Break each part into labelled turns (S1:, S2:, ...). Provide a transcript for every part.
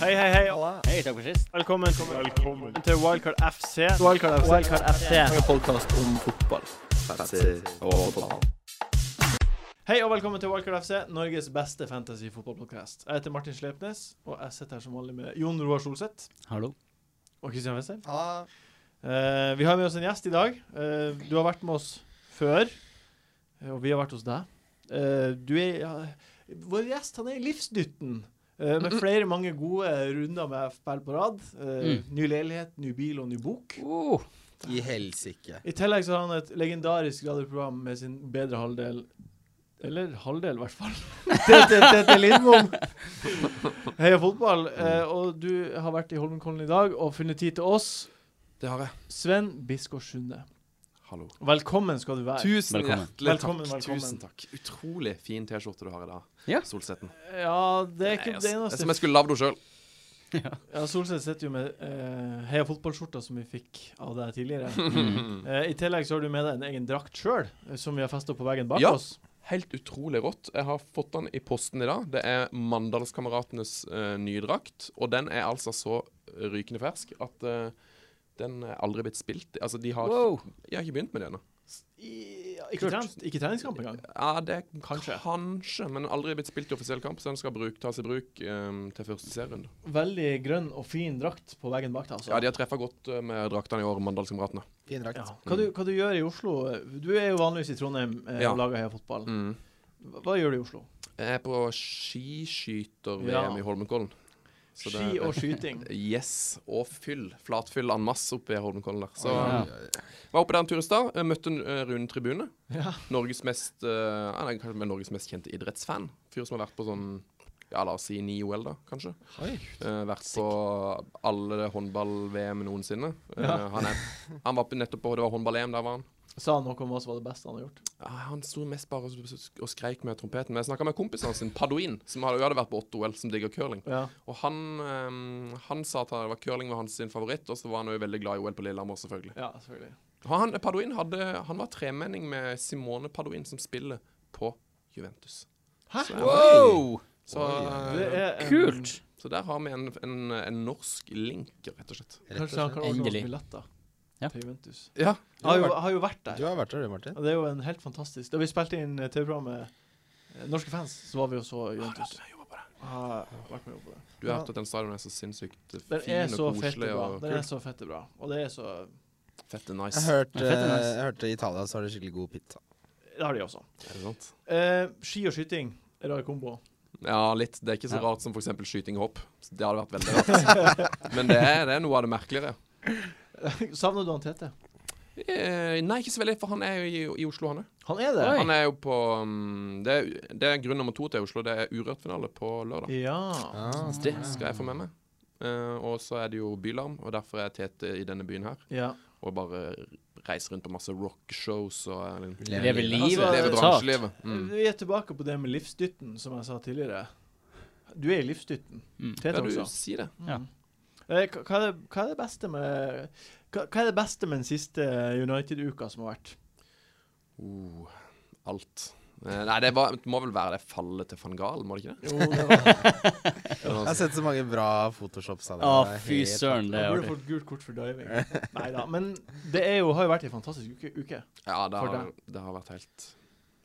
S1: Hei, hei, hei.
S2: Hei, takk for sist.
S1: Velkommen, til Wildcard FC.
S3: Wildcard FC.
S2: Wildcard FC.
S3: En podkast om fotball.
S1: Hei og velkommen til Wildcard FC, Norges beste fantasy-fotballpodkast. Jeg heter Martin Sleipnes, og jeg sitter her som vanlig med Jon Roar Solseth
S2: Hallo.
S1: og Kristian Wessel.
S4: Ja,
S1: Eh, vi har med oss en gjest i dag. Eh, du har vært med oss før, eh, og vi har vært hos deg. Eh, du er ja, Vår gjest han er i livsdytten. eh, med flere mange gode runder med FPL på rad. Eh,
S2: Mm.
S1: Ny leilighet, ny bil og ny bok.
S4: I helsike.
S1: I tillegg så har han et legendarisk radioprogram med sin bedre halvdel Eller halvdel, i hvert fall. Tete Tete Lindbom. Heia fotball. Eh, og du har vært i Holmenkollen i dag og funnet tid til oss.
S4: Det har jeg.
S1: Sven Biskår Sunde.
S4: Hallo.
S1: Velkommen skal du være.
S4: Tusen
S2: Velkommen.
S4: hjertelig
S1: Velkommen,
S4: takk.
S1: velkommen.
S4: Tusen takk. Utrolig fin T-skjorte du har i dag,
S2: Ja.
S4: Solsetten. Det
S1: Ja, det er ikke
S4: er
S1: det
S5: altså,
S4: som jeg
S1: eneste.
S4: skulle lagd henne sjøl.
S1: Ja, Solseth sitter jo med eh, heia fotballskjorta som vi fikk av deg tidligere. Eh, I tillegg så har du med deg en egen drakt sjøl, som vi har festa på veggen bak
S5: Ja.
S1: oss.
S5: Helt utrolig rått. Jeg har fått den i posten i dag. Det er Mandalskameratenes eh, nye drakt. Og den er altså så rykende fersk at eh, den er aldri blitt spilt. Altså, de har,
S2: Wow.
S5: Jeg har ikke begynt med det ennå.
S1: I, ja, ikke, trent, ikke treningskamp engang.
S5: Ja, det er
S1: Kanskje.
S5: kanskje. kanskje, men aldri blitt spilt i offisiell kamp, så den skal bruk, tas i bruk eh, til første serierunde.
S1: Veldig grønn og fin drakt på veggen bak deg. altså.
S5: Ja, de har treffa godt eh, med draktene i år, Mandalskameratene.
S4: Fin drakt.
S1: Ja. Hva, du, hva du gjør i Oslo Du er jo vanligvis i Trondheim eh,
S5: Ja.
S1: og lager heia fotball.
S5: Mm.
S1: Hva, hva gjør du i Oslo?
S5: Jeg er på skiskyter-VM
S1: Ja.
S5: i Holmenkollen. Så det-
S1: Ski og skyting.
S5: Yes. Og fyll. Flatfyll en masse oppe i Holmenkollen der. Så
S2: Ja.
S5: Var oppe der en tur i stad. eh, Møtte en, eh, Rune Tribune.
S1: Ja.
S5: Norges mest eh, han er kanskje med Norges mest kjente idrettsfan. Fyr som har vært på sånn ja, la oss si ni OL, da, kanskje. Eh, vært på alle håndball-VM noensinne. Eh,
S1: Ja.
S5: han, er, han var på nettopp på Det var håndball-EM, der var han.
S1: Sa han noe om hva som var det beste han har gjort?
S5: Ah, Han sto mest bare og, og skreik med trompeten. Men jeg snakka med kompisen hans, sin Padoin, som hadde, hadde vært på åtte OL, som digger curling.
S1: Ja.
S5: Og han, eh, han sa at han- det var curling var hans sin favoritt, og så var han jo veldig glad i OL på Lillehammer, selvfølgelig.
S1: ja, selvfølgelig.
S5: Han, Paduin hadde, han var tremenning med Simone Paduin, som spiller på Juventus.
S1: Hæ?
S2: Wow.
S5: Så,
S1: Det er en,
S2: Kult.
S5: så der har vi en, en, en norsk link, rett og slett.
S4: Rett og
S1: Kanskje han
S4: slett.
S1: kan ordne
S2: Endelig.
S1: noen billetter
S2: Ja.
S1: til Juventus.
S5: Ja.
S1: Jeg har, jo- har jo vært
S4: Du
S1: der.
S4: har vært der, du, Martin.
S1: Og det er jo en helt fantastisk Da vi spilte inn eh, TV-programmet eh, Norske fans, så var vi og så Juventus. Ah, jeg har vært med og jobbet på det.
S5: Du har hørt at den stadion er så sinnssykt fin
S1: Den er så
S5: og
S1: fett
S5: koselig
S1: bra.
S5: og
S1: Den er
S5: kult.
S1: så fett bra. Og det er så
S5: Fett og
S4: Jeg
S5: nice.
S4: hørte,
S2: Det er fett, det er nice.
S4: jeg hørte i Italia så har de skikkelig god pizza.
S1: Det har de også.
S5: Er det sant?
S1: Eh, ski og skyting. Rar kombo.
S5: Ja, litt. Det er ikke så
S2: Ja.
S5: rart som f.eks. skyting og hopp. Det hadde vært veldig rart. Men det er, det er noe av det merkeligere.
S1: Savner du han Tete?
S5: Eh, nei, ikke så veldig, for han er jo i, i Oslo, han er.
S1: Han er det.
S2: Oi.
S5: Han er jo på mm, det, er, det er grunn nummer to til Oslo. Det er Urørt-finale på lørdag.
S1: Ja.
S4: Ah.
S5: Så det skal jeg få med meg. Eh, og så er det jo bylarm, og derfor er Tete i denne byen her.
S1: ja.
S5: Og bare reiser rundt på masse rockshows og eller,
S4: Lever
S2: Lever
S4: livet.
S2: livet.
S1: Altså,
S5: lever
S1: det-
S2: Totalt.
S5: bransjelivet. Mm.
S1: Vi er tilbake på det med livsdytten, som jeg sa tidligere. Du er i livsdytten.
S2: Mm.
S1: Tete
S5: Ja, du
S1: også.
S5: si det.
S2: Ja.
S1: Eh, hva- Hva er, det, hva er det beste med hva, hva er det beste med den siste United-uka som har vært?
S5: Uh, alt. Eh, nei, det, var, det må vel være det fallet til van Gaal, må det ikke det?
S1: Jo, det var,
S4: Jeg har sett så mange bra photoshops av
S2: Å, fy søren, det
S1: jeg
S2: er
S1: burde
S2: artig.
S1: fått gult kort for diving. Nei da. Men det er jo, har jo vært en fantastisk uke. uke.
S5: Ja, det
S1: For
S5: har, det har vært helt,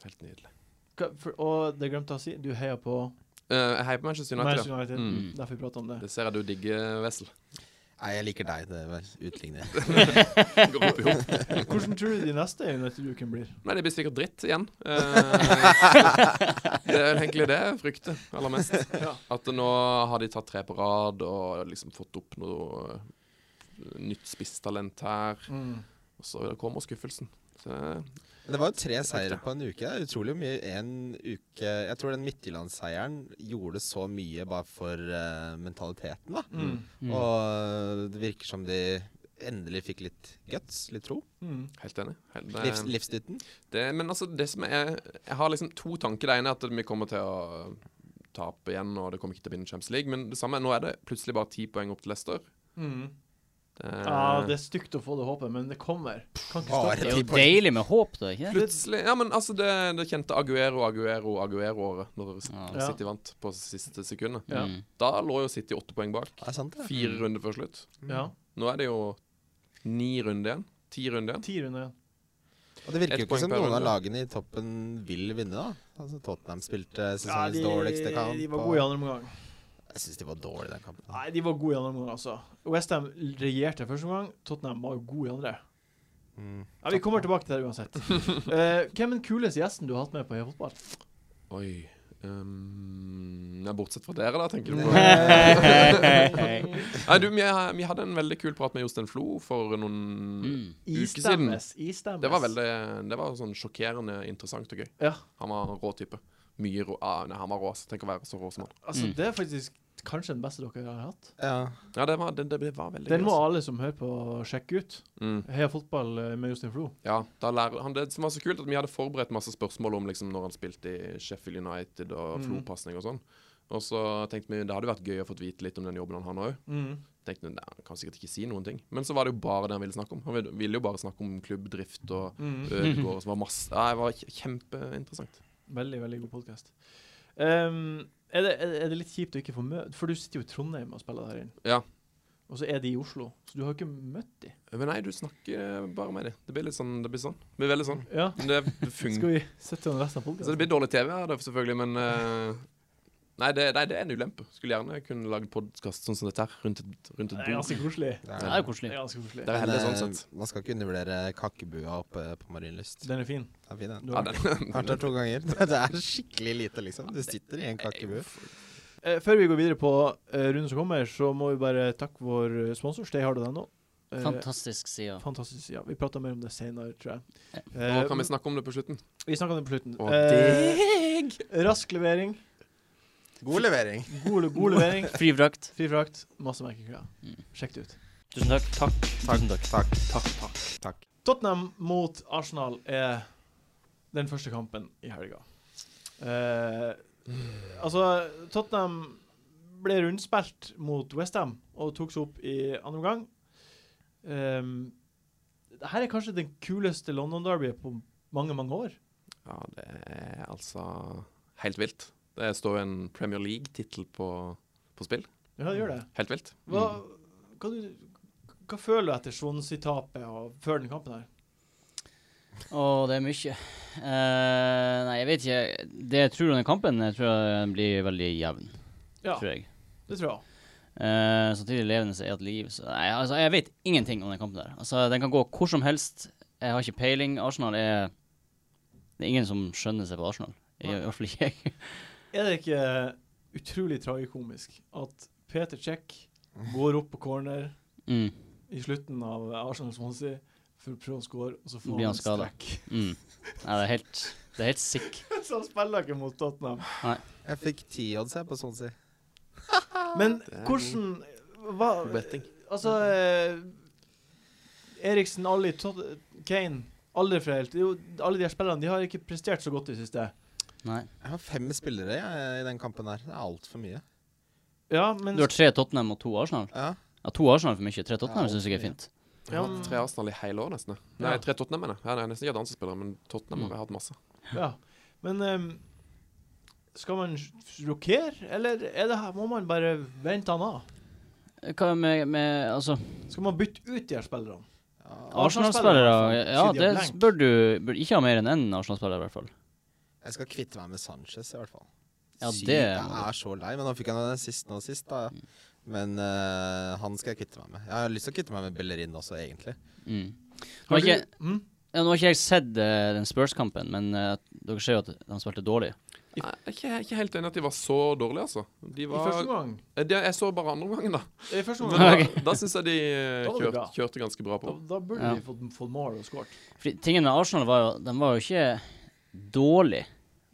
S5: helt nydelig.
S1: Hva- For, og det glemte jeg å si, du heier på
S5: Eh, jeg heier på Manchester United.
S1: Manchester
S5: ja.
S1: United.
S5: Mm.
S1: Derfor vi prater om det.
S5: Det ser jeg du digger, Wessel.
S4: Nei, jeg liker deg. Det var utlignet.
S5: Går opp i hop.
S1: Hvordan tror du de neste United-ukene blir?
S5: Nei, det blir sikkert dritt igjen. Eh, det er vel egentlig det jeg frykter aller mest.
S1: Ja.
S5: At nå har de tatt tre på rad og liksom fått opp noe eh, nytt spisstalent her.
S1: Mm.
S5: Og så kommer skuffelsen. Så eh, det,
S4: Men Det var jo tre seire på en uke. Det er utrolig mye en uke Jeg tror den Midtjylland-seieren gjorde så mye bare for eh, mentaliteten, da.
S1: Mm.
S2: Mm.
S4: Og det virker som de endelig fikk litt guts, litt tro.
S1: Mm.
S5: helt enig. Helt, det,
S4: Livs, livsdytten.
S5: det, men altså, det som er Jeg har liksom to tanker. Det ene er at vi kommer til å eh, tape igjen, og det kommer ikke til å vinne Champions League. Men det samme, nå er det plutselig bare ti poeng opp til Leicester.
S1: Mm.
S5: Eh,
S1: Ja, det er stygt å få det håpet, men det kommer. Kan ikke stoppe.
S4: Bare
S2: Det
S1: det.
S2: er
S4: ti
S2: jo
S4: poeng.
S2: deilig med håp, da. ikke det?
S5: Plutselig Ja, men altså, det, det kjente Aguero, Aguero, Aguero-året, når
S2: Ja.
S5: City vant på siste sekundet.
S1: Ja.
S2: Mm.
S5: Da lå jo City åtte poeng bak.
S4: Det er sant, det.
S5: Fire runder før slutt.
S1: Ja.
S5: Nå er det jo ni runder igjen. Ti runder igjen.
S1: Ti runder igjen.
S4: Og det virker
S5: Ett
S4: jo ikke
S5: poeng
S4: som
S5: per
S4: noen av
S5: runde.
S4: lagene i toppen vil vinne, da. Altså, Tottenham spilte
S1: Ja,
S4: sesongens
S1: de,
S4: dårligste kamp.
S1: de var
S4: og-
S1: gode i andre omgang.
S4: Jeg syns de var dårlige, den kampen.
S1: Nei, de var gode i andre omgang, altså. Westham regjerte første omgang, Tottenham var gode i andre.
S4: Mm.
S1: Ja, Vi kommer tilbake til det uansett. Eh, hvem er den kuleste gjesten du har hatt med på e-fotball?
S5: Oi. Um, ja, bortsett fra dere, da, tenker du på. Nei, du, vi, vi hadde en veldig kul prat med Jostein Flo for noen
S2: Mm.
S5: Uke
S1: Istemmes. Istemmes.
S5: Det var veldig Det var sånn sjokkerende interessant og gøy.
S1: Ja,
S5: Han var en rå type. Mye rå ah, Nei, han var rå. altså. Tenk å være så rå som han.
S1: altså
S2: Mm.
S1: Det er faktisk kanskje den beste dere har hatt.
S4: Ja.
S5: Ja, det var, det, det var veldig
S1: Den
S5: gøy.
S1: må
S5: altså.
S1: alle som hører på, sjekke ut.
S5: Mm.
S1: Heia fotball eh, med Jostein Flo.
S5: Ja, da lærer han Det som var så kult, at vi hadde forberedt masse spørsmål om liksom, når han spilte i Sheffield United og
S1: Mhm.
S5: flopasning og sånn. Og så tenkte vi det hadde vært gøy å få vite litt om den jobben han har nå òg.
S1: Mm.
S5: Tenkte vi, nei, han kan sikkert ikke si noen ting. Men så var det jo bare det han ville snakke om. Han ville- ville jo bare snakke om klubbdrift og
S1: Mhm.
S5: Ødegaard, som var masse Nei, det var kj- kjempeinteressant.
S1: Veldig, veldig god podkast. Um, er, det- er, det- er det litt kjipt å ikke få møte For du sitter jo i Trondheim og spiller der inne.
S5: Ja.
S1: Og så er de i Oslo, så du har jo ikke møtt de.
S5: Men nei, du snakker bare med dem. Det blir litt sånn. Det blir sånn. Det blir veldig sånn.
S1: Ja.
S5: Men Det funker.
S1: Skal vi sette den resten av
S5: Så det
S1: podkasten?
S5: blir dårlig TV her, da, selvfølgelig, men eh, nei, det, nei, det er en ulempe. Skulle gjerne kunne lage podkast sånn som dette her, rundt et, rundt
S1: Det
S5: et
S1: er
S5: bord.
S1: ganske koselig.
S4: Det
S2: Det
S4: er-
S2: er jo
S1: Det
S2: koselig.
S1: er ganske koselig.
S5: Det er heldig
S4: Men,
S5: sånn
S4: eh,
S5: sett.
S4: Man skal ikke undervurdere kakebua oppe på Marienlyst. Det
S1: Den er fin.
S4: er fin, den.
S1: Du
S5: Ja,
S1: har-
S5: den,
S4: Vært der to ganger. Det er skikkelig lite, liksom. Du sitter i en kakebu.
S1: Eh, før vi går videre på eh, runden som kommer, så må vi bare takke vår eh, sponsor, stayhard.no. Eh,
S2: Fantastisk side.
S1: fantastisk. Ja, vi prater mer om det senere, tror jeg.
S5: nå
S1: Eh,
S5: kan vi snakke om det på slutten.
S1: vi snakker om det på slutten.
S5: Og
S1: Eh, rask levering.
S4: God levering.
S1: God, le- god levering.
S2: Fri frakt.
S1: Fri frakt. Masse merkekuler.
S2: Mm.
S1: Sjekk det ut.
S2: Tusen takk. Takk.
S4: Takk, takk, takk.
S5: Takk, takk.
S1: Tottenham mot Arsenal er den første kampen i helga. Eh, altså, Tottenham ble rundspilt mot Westham og tok seg opp i andre omgang. Um, Dette er kanskje den kuleste London-derbyet på mange, mange år.
S5: Ja, det er altså helt vilt. Det står jo en Premier League-tittel på, på spill.
S1: Ja, det gjør det.
S5: Helt vilt.
S2: Mm.
S1: Hva, hva, du, hva føler du etter Swansea-tapet og før den kampen her?
S2: Å, det er mye. Eh, nei, jeg vet ikke. Det jeg tror om den kampen, jeg tror den blir veldig jevn.
S1: Ja,
S2: Tror jeg.
S1: det tror jeg.
S2: Eh, samtidig levende så er et liv. Så nei, altså, jeg vet ingenting om den kampen der. Altså, den kan gå hvor som helst. Jeg har ikke peiling. Arsenal er Det er ingen som skjønner seg på Arsenal. I
S1: Nei.
S2: hvert fall ikke jeg.
S1: Er det ikke utrolig tragikomisk at Peter Cech går opp på corner
S2: Mm,
S1: i slutten av Arsenal Swansea for å prøve å score, og så får
S2: Blir
S1: han en
S2: han skadet.
S1: strekk.
S2: mm. Nei, det er helt Det er helt sick.
S1: så han spiller ikke mot Tottenham.
S4: Jeg fikk ti odds her på Swansea.
S1: Men hvordan hva,
S5: Betting.
S1: Altså eh, Eriksen, Ali, Tot Kane, Alderfrelt jo, Alle de her spillerne de har ikke prestert så godt i det siste.
S2: Nei.
S4: Jeg har fem spillere jeg, i den kampen her. Det er altfor mye.
S1: Ja, men
S2: Du har tre Tottenham og to Arsenal.
S4: Ja.
S2: Ja, to Arsenal er for mye. Tre Tottenham syns jeg er fint.
S5: Vi har
S1: Ja.
S5: hatt tre Arsenal i hele år, nesten. Nei,
S1: Ja. Mm.
S5: tre Tottenham, mener jeg. Ja, det er nesten ikke dansespillere, men Tottenham har vi hatt masse.
S1: Ja, men ehm, skal man sj- rokere, eller er det her, må man bare vente han av?
S2: Hva med, med Altså,
S1: Skal man bytte ut de her spillerne?
S2: Arsenal-spillere Ja,
S1: Sitter
S2: det
S1: i blank.
S2: bør du bør ikke ha mer enn én Arsenal-spiller, i hvert fall.
S4: Jeg skal kvitte meg med Sanchez, i hvert fall.
S2: Ja,
S4: Sykt,
S2: det må
S4: Jeg er så lei, men nå fikk han den sist nå sist, da. Men eh, han skal jeg kvitte meg med. Jeg har lyst til å kvitte meg med Bellerin også, egentlig.
S2: Mm. Nå har ikke,
S1: du, mm,
S2: ja, nå har ikke jeg sett eh, den Spurs-kampen, men eh, dere ser jo at han spilte dårlig.
S5: Nei, Jeg er ikke, jeg er ikke helt enig at de var så dårlige, altså. De
S1: I
S5: var
S1: første omgang.
S5: Eh, det- Jeg så bare andre omgangen, da.
S1: I første
S5: Men
S1: omgang.
S5: da, da syns jeg de eh,
S1: Da var det
S5: kjørte,
S1: bra.
S5: kjørte ganske bra
S1: Da,
S5: på.
S1: da burde
S2: Ja.
S1: vi fått, fått mål og skåret.
S2: Fordi tingen med Arsenal var jo Den var jo ikke dårlig.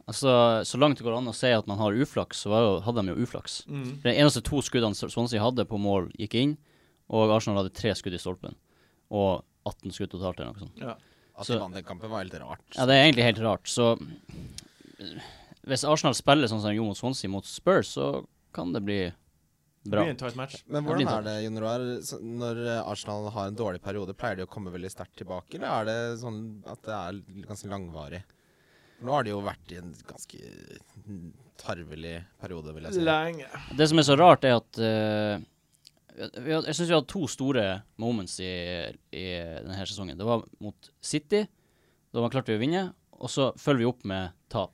S2: Altså, så langt det går an å si at man har uflaks, så var jo, hadde de jo uflaks.
S1: Mm.
S2: De eneste to skuddene Sw- Swansea hadde på mål, gikk inn, og Arsenal hadde tre skudd i stolpen. Og 18 skudd totalt, eller noe sånt.
S1: Ja.
S4: At
S2: Så-
S4: de vant den kampen, var helt rart.
S2: Ja, det er egentlig helt rart. Så eh, hvis Arsenal spiller sånn som de gjorde mot Swansea, mot Spurs, så kan det bli
S1: Det
S2: Bra.
S1: blir en tight match.
S4: Men
S2: Det blir
S4: hvordan er det, Jon Roar? Så Når eh, Arsenal har en dårlig periode, pleier de å komme veldig sterkt tilbake, eller er det sånn at det er l- ganske langvarig? Nå har de jo vært i en ganske tarvelig periode, vil jeg si.
S1: Lenge.
S2: Det som er så rart, er at eh, vi har, Jeg syns vi har hatt to store moments i, i denne her sesongen. Det var mot City, da man klarte vi å vinne. Og så følger vi opp med tap.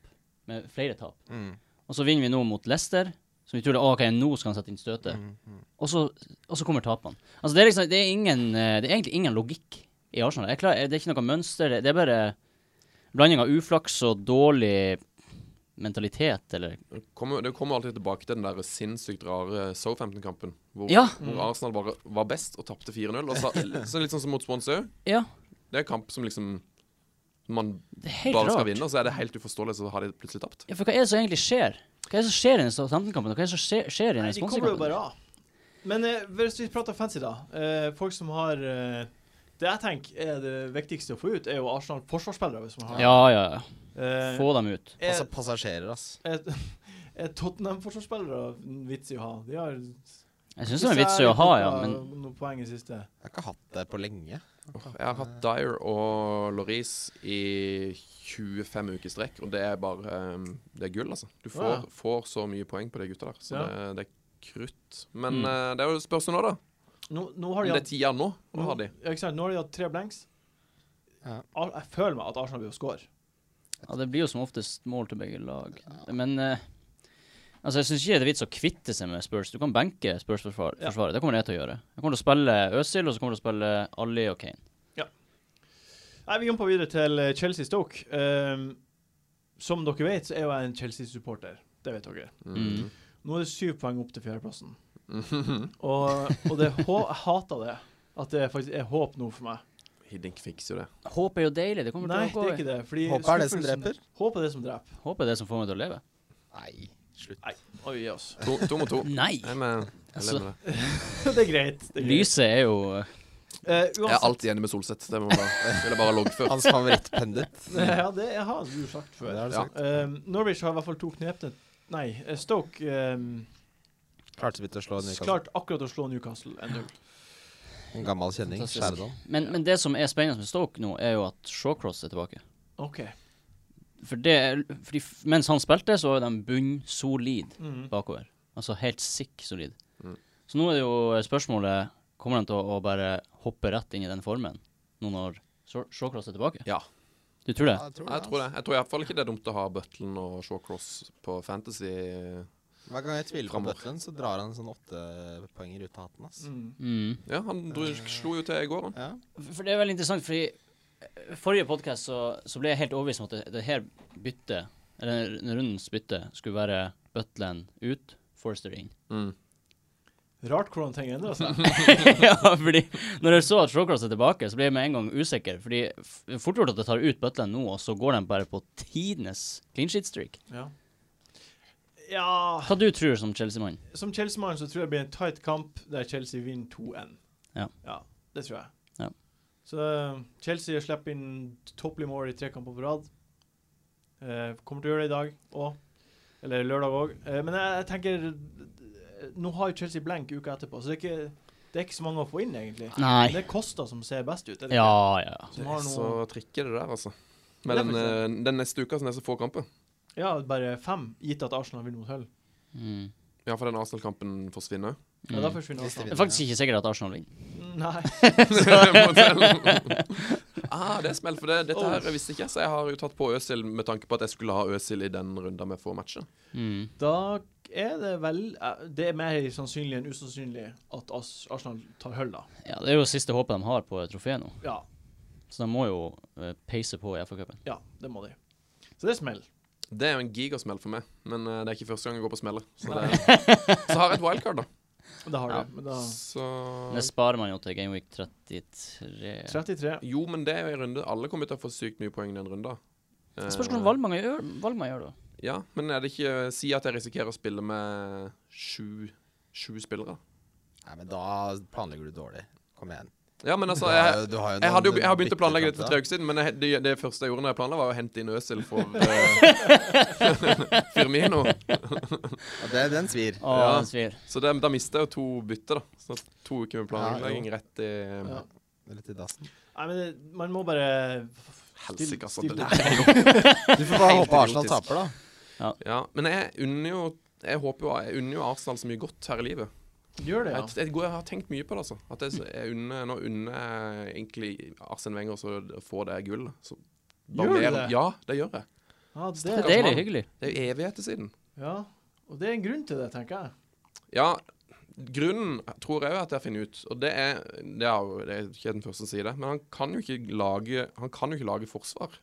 S2: Med flere tap.
S4: Mm.
S2: Og så vinner vi nå mot Leicester, som vi tror det, «Å, ok, nå skal han sette inn støtet.
S5: Mm,
S2: Og, så, og så kommer tapene. Altså, det er, liksom, det, er ingen, eh, det er egentlig ingen logikk i Arsenal. Jeg klarer, det er ikke noe mønster. Det, det er bare blanding av uflaks og dårlig mentalitet, eller
S5: Kommer, det kommer alltid tilbake til den der sinnssykt rare Southampton-kampen. Hvor,
S2: Ja.
S1: Mm.
S5: hvor Arsenal bare var best og tapte 4-0. og Så så litt sånn som mot Swansea.
S2: Ja,
S5: Det er en kamp som liksom man
S2: det er helt
S5: bare skal
S2: rart.
S5: vinne, og så er det helt uforståelig, så har de plutselig tapt.
S2: Ja, for hva er det som egentlig skjer? Hva er det som skjer i denne Southampton-kampen? og Hva er det som skjer, skjer i
S1: Nei,
S2: denne
S1: de kommer jo bare
S2: Swansea-kampen?
S1: av. Men eh, hvis vi prater fancy, da. Eh, folk som har eh, Det jeg tenker er det viktigste å få ut, er jo Arsenal-forsvarsspillere. hvis man har
S2: Ja, ja, ja.
S1: Eh,
S2: Få dem ut.
S1: er,
S4: Altså passasjerer, ass.
S1: er, er Tottenham-forsvarsspillere en vits i å ha? De har
S2: Jeg syns det er en vits i å ha, ja, men
S1: noen poeng i siste.
S4: Jeg har ikke hatt det på lenge.
S5: Jeg har hatt Dyer og Laurice i 25 uker i strekk, og det er bare um, Det er gull, altså. Du får,
S1: Ja.
S5: får så mye poeng på de gutta der, så
S1: Ja.
S5: det, det er krutt. Men
S2: Mm.
S5: eh, det er jo spørs nå, da.
S1: Nå, nå har
S5: Om
S1: de
S5: det er
S1: hatt
S5: tier nå,
S1: nå,
S5: hva har de?
S1: ja, ikke sant? nå har de hatt tre blanks.
S4: Ja.
S1: Ar jeg føler meg at Arsenal blir å score.
S2: ja, det blir jo som oftest mål til begge lag. Men eh, altså, jeg syns ikke det er vits å kvitte seg med Spurs. Du kan benke Spurs-forsvaret.
S1: Ja.
S2: Det kommer jeg til å gjøre. Jeg kommer til å spille Øzil, og så kommer jeg til å spille Ali og Kane.
S1: Nei, Vi jumper videre til eh, Chelsea Stoke. Ehm, som dere vet, så er jo jeg en Chelsea-supporter. Det vet dere.
S2: Mm.
S1: Nå er det syv poeng opp til fjerdeplassen.
S5: Mhm.
S1: Og, og det er hå jeg hater det. At det faktisk er håp nå for meg.
S5: Hiddink fikser jo det.
S2: Håp er jo deilig. Det kommer
S1: Nei, det
S2: til å
S1: er
S2: gå.
S1: ikke det. Fordi
S4: Håpet er det som
S1: skuffelsen-
S4: dreper.
S1: Håpet er det som dreper.
S2: i- Håp er det som får meg til å leve.
S4: Nei, slutt.
S1: Oi, yes.
S5: To, to mot to.
S2: Nei!
S5: Jeg er med. Jeg
S2: Altså,
S5: lever med det.
S1: det er greit. Det er greit.
S2: Lyset er jo eh,
S1: Eh,
S5: Jeg er
S1: uansett,
S5: alltid enig med Solseth. Det må jeg bare, vil jeg bare loggføre.
S4: Hans favorittpendent.
S1: ja, det har du sagt
S4: Det
S1: før.
S4: har du
S5: Ja.
S4: sagt.
S1: Ehm, Norwich har i hvert fall to knepne Nei, eh, Stoke ehm,
S4: Klarte vi til å slå Newcastle.
S1: klarte akkurat å slå Newcastle 1-0.
S4: En gammel kjenning.
S2: Fantastisk.
S4: Sheridan.
S2: men, men det som er spennende med Stoke nå, er jo at Shawcross er tilbake.
S1: OK.
S2: For det, fordi f- mens han spilte, så var jo de bunnsolid
S1: Mhm.
S2: bakover. Altså helt sikk solid.
S5: Mm.
S2: Så nå er det jo spørsmålet Kommer de til å, å bare hoppe rett inn i den formen nå når Shaw- Shawcross er tilbake?
S5: Ja,
S2: Du tror det?
S5: jeg tror det. Jeg tror i hvert fall ikke det er dumt å ha Butlen og Shawcross på Fantasy.
S4: Hver gang jeg tviler på
S5: Fremover.
S4: Butlen, så drar han sånn åtte poenger ut av hatten, ass.
S1: Mm.
S2: Mm.
S5: Ja, han dro, slo jo til i går, han.
S4: Ja.
S2: For for det er veldig interessant, fordi eh, forrige podkast så, så ble jeg helt overbevist om at det, det her byttet, eller denne rundens bytte, skulle være Butland ut, Forster inn.
S5: Mm.
S1: Rart hvordan ting endrer seg.
S2: ja, fordi når jeg så at Shawcross er tilbake, så ble jeg med en gang usikker. Fordi f- fort gjort at jeg tar ut Butland nå, og så går de bare på tidenes clean sheet streak.
S1: Ja.
S5: Ah.
S1: ja
S2: Hva du tror som Chelsea-mann?
S1: Som Chelsea-mann så tror jeg det blir en tight kamp der Chelsea vinner 2-1.
S2: Ja.
S1: Det tror jeg.
S2: Ja.
S1: Så eh, Chelsea slipper inn topplig mål i tre kamper på rad. Eh, kommer til å gjøre det i dag òg. Eller lørdag òg. men jeg, jeg tenker eh, Nå har jo Chelsea blank uka etterpå, så det er ikke, det er ikke så mange å få inn, egentlig.
S2: Nei.
S1: Det er Costa som ser best ut. Er det ikke?
S2: Ja, ja.
S1: Som
S5: Det
S1: har
S5: er så
S1: noe,
S5: trikke det der, altså.
S1: Det
S5: Med
S1: er
S5: den, eh, den neste uka som er så få kamper.
S1: ja, bare fem, gitt at Arsenal vinner mot Hull.
S2: Mm.
S5: Ja, for den Arsenal-kampen forsvinner.
S1: Ja, da
S2: Mm.
S1: forsvinner
S4: Hvis de
S1: Arsenal.
S2: Det er faktisk ikke sikkert at Arsenal vinner.
S1: Nei.
S5: På hotell. ah, det er smell, for det, dette her visste ikke jeg, så jeg har jo tatt på Øsil med tanke på at jeg skulle ha Øsil i den runda med få matcher.
S2: Mm.
S1: Da er det vel eh, Det er mer sannsynlig enn usannsynlig at As- Arsenal tar hull, da.
S2: Ja, det er jo siste håpet de har på et trofé nå,
S1: Ja,
S2: så de må jo eh, peise på i FA-cupen.
S1: ja det må de. Så det smeller.
S5: Det er jo en gigasmell for meg, men eh, det er ikke første gang jeg går på smeller. Så, det, så har jeg et wildcard, da.
S1: Det har
S2: Ja.
S1: de. Men da
S5: Så
S2: Det sparer man jo til Gameweek 33.
S1: 33.
S5: Jo, men det er jo en runde. Alle kommer til å få sykt mye poeng i den runda. Eh,
S2: Det spørs hvordan valg man gjør, valg man gjør da.
S5: Ja, men er det ikke Si at jeg risikerer å spille med sju, sju spillere.
S4: Nei, men da planlegger du dårlig. Kom igjen.
S5: Ja, men altså,
S4: Du har jo-
S5: jeg,
S4: du har jo
S5: jeg, hadde jo,
S4: noen
S5: jeg har begynt å planlegge dette
S4: byttekanter.
S5: tre uker siden, men jeg, det, det første jeg gjorde når jeg planla, var å hente inn Øsil for eh, Firmino.
S4: Ja, det, den svir.
S2: Å,
S5: Ja.
S2: den svir.
S5: Så det, da mista jeg jo to bytter, da. Så to uker med planlegging
S4: Ja,
S5: rett i eh,
S1: Ja.
S4: Rett i dassen.
S1: Nei, men det, man må bare
S5: Helsike, altså.
S1: Still-
S5: Det
S1: still-
S5: der er jo
S4: Du får bare
S5: Helt
S4: håpe Arsenal
S5: idiotisk.
S4: taper, da.
S5: Ja, men jeg unner jo jeg håper jo, jeg unner jo Arsenal så mye godt her i livet.
S1: Gjør det, ja.
S5: Jeg, jeg, går- jeg har tenkt mye på det. altså. At jeg, jeg unner, Nå unner jeg egentlig Arsen Wenger også å få det gullet. Så bare
S1: Gjør du
S5: mer-
S1: det?
S5: Ja, det gjør jeg.
S1: ja
S2: Det
S1: det,
S2: er deilig. Hyggelig.
S5: Det er jo evigheter siden.
S1: Ja. Og det er en grunn til det, tenker jeg.
S5: Ja, grunnen tror jeg jo at jeg finner ut, og det er Det er jo det er ikke den første som sier det, men han kan jo ikke lage, han kan jo ikke lage forsvar.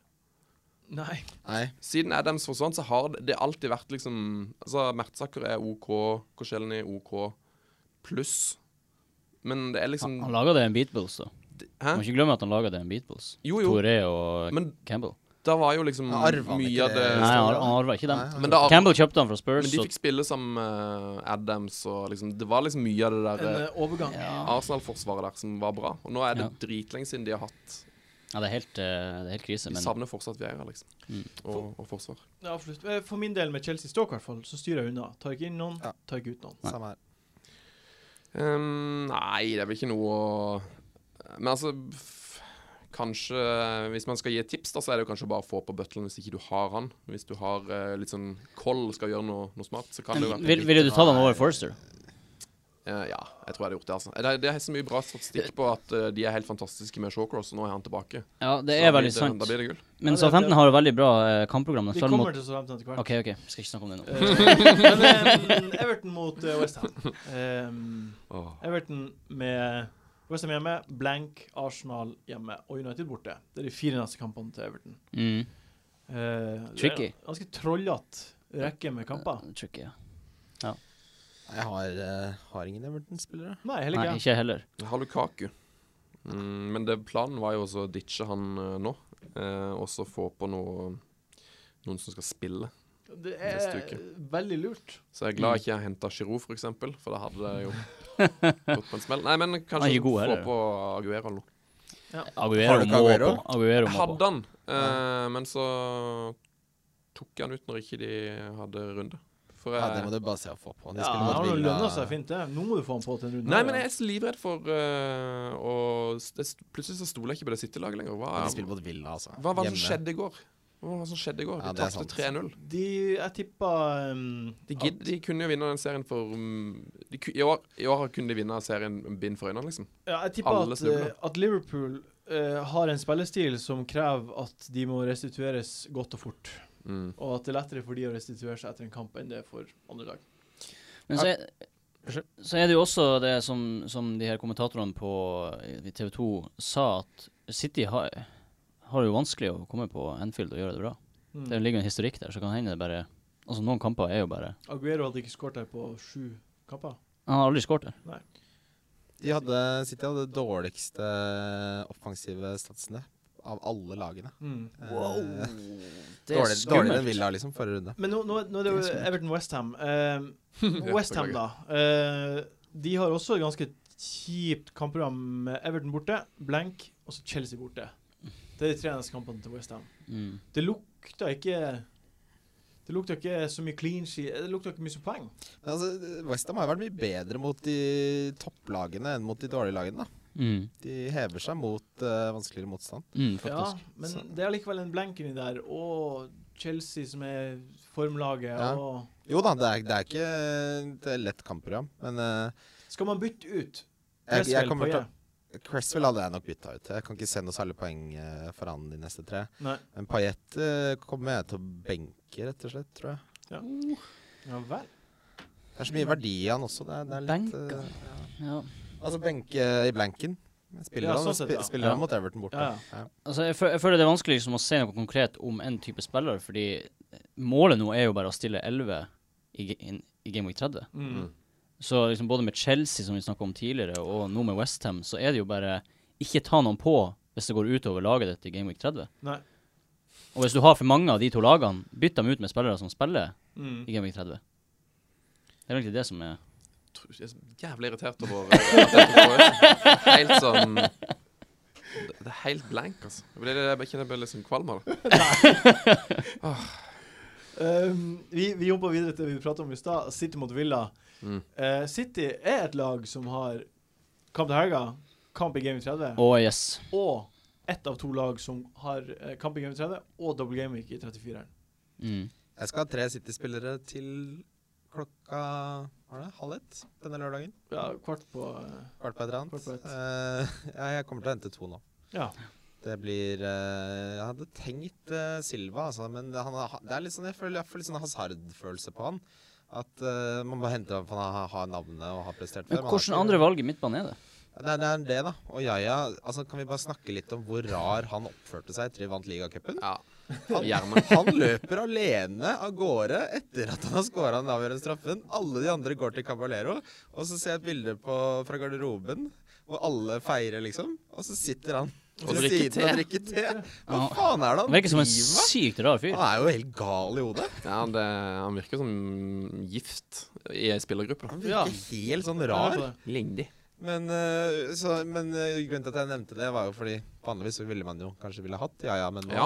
S1: Nei.
S4: Nei.
S5: Siden Adams forsvant, så har det, det har alltid vært liksom Altså, Mertsaker er OK, Korselny er OK, pluss. Men det er liksom
S2: Han, han laga det en beatboost, da.
S5: Hæ?
S2: Må ikke glemme at han laga det en beatboost.
S5: Jo, jo,
S2: Toré og
S5: men
S2: Campbell.
S5: da var jo liksom
S4: Ja, arva han
S5: mye
S4: ikke
S5: av Eh, det
S4: det?
S2: Nei, han, han arva ikke dem.
S4: Nei, han-
S5: Men da
S2: Campbell kjøpte han fra
S5: Men
S2: Spurs.
S5: de
S2: så-
S5: fikk spille sammen med Adams og liksom Det var liksom mye av det
S1: En
S5: der
S1: eh, overgang.
S2: Ja.
S5: Arsenal-forsvaret der som var bra. Og nå er det dritlenge siden de har hatt
S2: Ja, det er helt, eh, det er helt krise,
S5: De
S2: men
S5: savner fortsatt Vieira, liksom.
S2: Mm.
S5: Og, og forsvar.
S1: Ja, absolutt. Eh, For min del med Chelsea Stoke, i hvert fall, så styrer jeg unna. Tar ikke inn noen,
S4: Ja.
S1: tar ikke ut noen.
S2: Nei.
S4: Samme her.
S5: Ehm, nei, det er vel ikke noe å Men altså f Kanskje Hvis man skal gi et tips, da, så er det jo kanskje bare å få på bøttelen hvis ikke du har han. Hvis du har eh, litt sånn koll, skal gjøre noe, noe smart, så kan det jo være
S2: Vil- Ville du ta den over Forster?
S5: Eh, Ja, jeg tror jeg hadde gjort det, altså. Det, er- det er så mye bra statistikk på at eh, de er helt fantastiske med Shawcross, og nå er han tilbake.
S2: Ja, det
S5: Så
S2: er
S5: da blir
S2: veldig sant.
S5: Da blir det gull.
S2: Men
S1: Ja, det-
S2: Southampton
S1: det-
S2: har jo veldig bra eh, kampprogram.
S1: Vi
S2: Selv mot
S1: kommer til Southampton etter hvert.
S2: OK, OK, skal ikke snakke om det nå.
S1: Eh, men, eh, Everton mot eh, West Ham Ehm, Everton med West Ham hjemme, blank Arsenal hjemme og United borte. Det er de fire neste kampene til Everton.
S2: Mm.
S1: Eh, det er
S2: Tricky.
S1: en Ganske trollete rekke med kamper.
S2: Tricky, ja.
S4: Jeg har, eh, har ingen Everton-spillere.
S1: Nei, heller
S2: Nei,
S1: ikke.
S2: ikke jeg heller.
S5: Jeg har Lukaku. Mm, men det, planen var jo også å ditche han eh, nå, eh, og så få på noe noen som skal spille.
S1: Det
S5: Neste
S1: er
S5: uke.
S1: veldig lurt.
S5: Så jeg er
S2: Mm.
S5: glad ikke jeg henta Giroud, for eksempel, for da hadde det jo gått på en smell. Nei, men
S2: Han er
S5: kanskje
S2: ikke god
S5: få
S2: heller.
S5: på Aguero nå.
S2: Aguero
S4: Har du ikke
S2: må på.
S4: Aguero?
S2: Aguero
S5: Jeg
S2: må på.
S5: hadde han, eh, men så tok jeg han ut når ikke de hadde runde. For
S4: Ja, det
S5: jeg,
S4: må du bare se å få på. De
S1: Ja,
S4: spiller
S1: han
S4: mot
S1: har
S4: Villa.
S1: lønna seg fint, det. Nå må du få han på til en runde.
S5: Nei, men jeg er så livredd for eh, å s- det, s- Plutselig så stoler jeg ikke på det City-laget lenger. Hva,
S4: De spiller mot Villa, altså.
S5: hva var det som
S4: Hjemme.
S5: skjedde i går? Hva var det som skjedde i går? De
S4: Ja, det er
S5: tapte
S4: sant.
S5: 3-0.
S1: De, jeg tippa ehm,
S5: De, gidd, de kunne jo vinne den serien for mm, de, ku- i, år, I år kunne de vinne serien bind for øynene, liksom.
S1: Ja, jeg tipper at,
S5: Alle snubler.
S1: eh, at Liverpool eh, har en spillestil som krever at de må restitueres godt og fort.
S5: Mm.
S1: Og at det er lettere for de å restituere seg etter en kamp enn det er for andre lag.
S2: Men så er, så er det jo også det som, som de her kommentatorene på TV 2 sa, at City har, har jo vanskelig å komme på Anfield og gjøre det bra.
S1: Mm.
S2: Det ligger en historikk der, så kan hende det bare Altså, noen kamper er jo bare
S1: Aguero hadde ikke skåret der på sju kamper.
S2: Han har aldri skåret der.
S4: De hadde, City hadde det dårligste offensive statsene av alle lagene.
S1: Mm.
S4: Wow.
S2: Det er
S4: Dårligere dårlig enn Villa, liksom, forrige runde.
S1: Men nå, nå, nå er det jo Everton-Westham.
S5: Ja,
S1: Westham, Eh, da. eh, de har også et ganske kjipt kampprogram. med Everton borte, blank, og så Chelsea borte. Det er de tre neste kampene til Westham.
S2: Mm.
S1: Det lukta ikke Det lukta ikke så mye clean sheet Det lukta ikke mye så poeng.
S4: Men Altså, Westham har jo vært mye bedre mot de topplagene enn mot de dårlige lagene. da.
S2: Mm.
S4: De hever seg mot eh, vanskeligere motstand.
S2: Mm,
S1: Ja,
S2: faktisk.
S1: men
S4: Så-
S1: det er allikevel en blank inni der, og Chelsea som er formlaget,
S4: Ja.
S1: og
S4: Jo da, det er, det er ikke det er lett kampprogram, men eh,
S1: Skal man bytte ut
S4: jeg, jeg
S1: Cresswell
S4: kommer
S1: Poyet?
S4: til å Cresswell hadde jeg nok bytta ut. Jeg kan ikke se noe særlig poeng eh, for han de neste tre.
S1: Nei.
S4: Men Payet eh, kommer jeg til å benke, rett og slett, tror jeg.
S1: Ja vel.
S4: Det er så mye verdi i han også. Det er, det er litt
S2: Benke?
S4: eh,
S2: Ja.
S4: Altså benke i blanken. Spiller
S1: Ja,
S4: han,
S1: sånn sett,
S4: spi-
S1: ja.
S4: spiller
S2: Ja.
S4: han mot Everton borte.
S1: Ja,
S4: Ja.
S2: Altså, jeg, fø- jeg føler det er vanskelig liksom, å si noe konkret om en type spiller, fordi målet nå er jo bare å stille 11 i, ge- in, i Game Week 30.
S1: Mm.
S5: Mm.
S2: Så liksom, både med Chelsea, som vi snakka om tidligere, og nå med Westham, så er det jo bare ikke ta noen på hvis det går utover laget ditt i Game Week 30.
S1: Nei.
S2: Og hvis du har for mange av de to lagene, bytt dem ut med spillere som spiller
S1: Mm.
S2: i Game Week 30. Det er egentlig det som er
S5: Tro- Jeg er så jævlig irritert over eh, at jeg ikke får det. Helt sånn Det er helt blank, altså. Jeg ble, jeg kjenner jeg ble litt sånn kvalm av det.
S1: Um, vi, vi jobber videre til det vi pratet om i stad, City mot Villa.
S5: Mm.
S1: Eh, City er et lag som har kamp til helga, kamp i Game 30,
S2: Å, yes.
S1: og ett av to lag som har eh, kamp i Game 30 og double game week i 34-eren.
S2: Mm.
S4: Jeg skal ha tre City-spillere til klokka var det, halv ett denne lørdagen.
S1: Ja, kvart på eh,
S4: Kvart på et eller annet.
S1: Kvart på ett.
S4: Eh, ja, jeg kommer til å hente to nå.
S1: Ja.
S4: Det blir eh, Jeg hadde tenkt eh, Silva, altså, men det, han, har- det er litt sånn, jeg føler jeg får litt sånn hasard-følelse på han. At eh, man bare henter ham for han har- har navnet og har prestert før.
S2: Men
S4: Man har
S2: hvordan
S4: ikke-
S2: andre valg i midtbanen er det?
S4: Ja, Det er, det er det, da. Og Yaya altså, Kan vi bare snakke litt om hvor rar han oppførte seg etter vi vant ligacupen?
S5: Ja,
S4: Han,
S5: gjerne.
S4: han løper alene av gårde etter at han har skåra den avgjørende straffen. Alle de andre går til Caballero, og så ser jeg et bilde på, fra garderoben. Hvor alle feirer, liksom. Og så sitter han
S5: Og
S4: ved
S5: drikker
S4: siden og
S5: te.
S4: drikker te. Hva
S2: Ja.
S4: faen er det
S2: Han
S4: han
S2: virker som en
S4: driver med?
S2: sykt rar fyr.
S1: Ah.
S4: Han er jo helt gal i hodet.
S5: ja det, Han virker som gift i ei spillergruppe.
S4: Han
S5: da.
S1: Ja.
S4: virker helt sånn
S1: jeg
S4: rar.
S1: er på det.
S5: Ligner de.
S4: Men, eh, så, men eh, grunnen til at jeg nevnte det, var jo fordi vanligvis så ville man jo kanskje ville hatt ja ja, men nå
S5: Ja.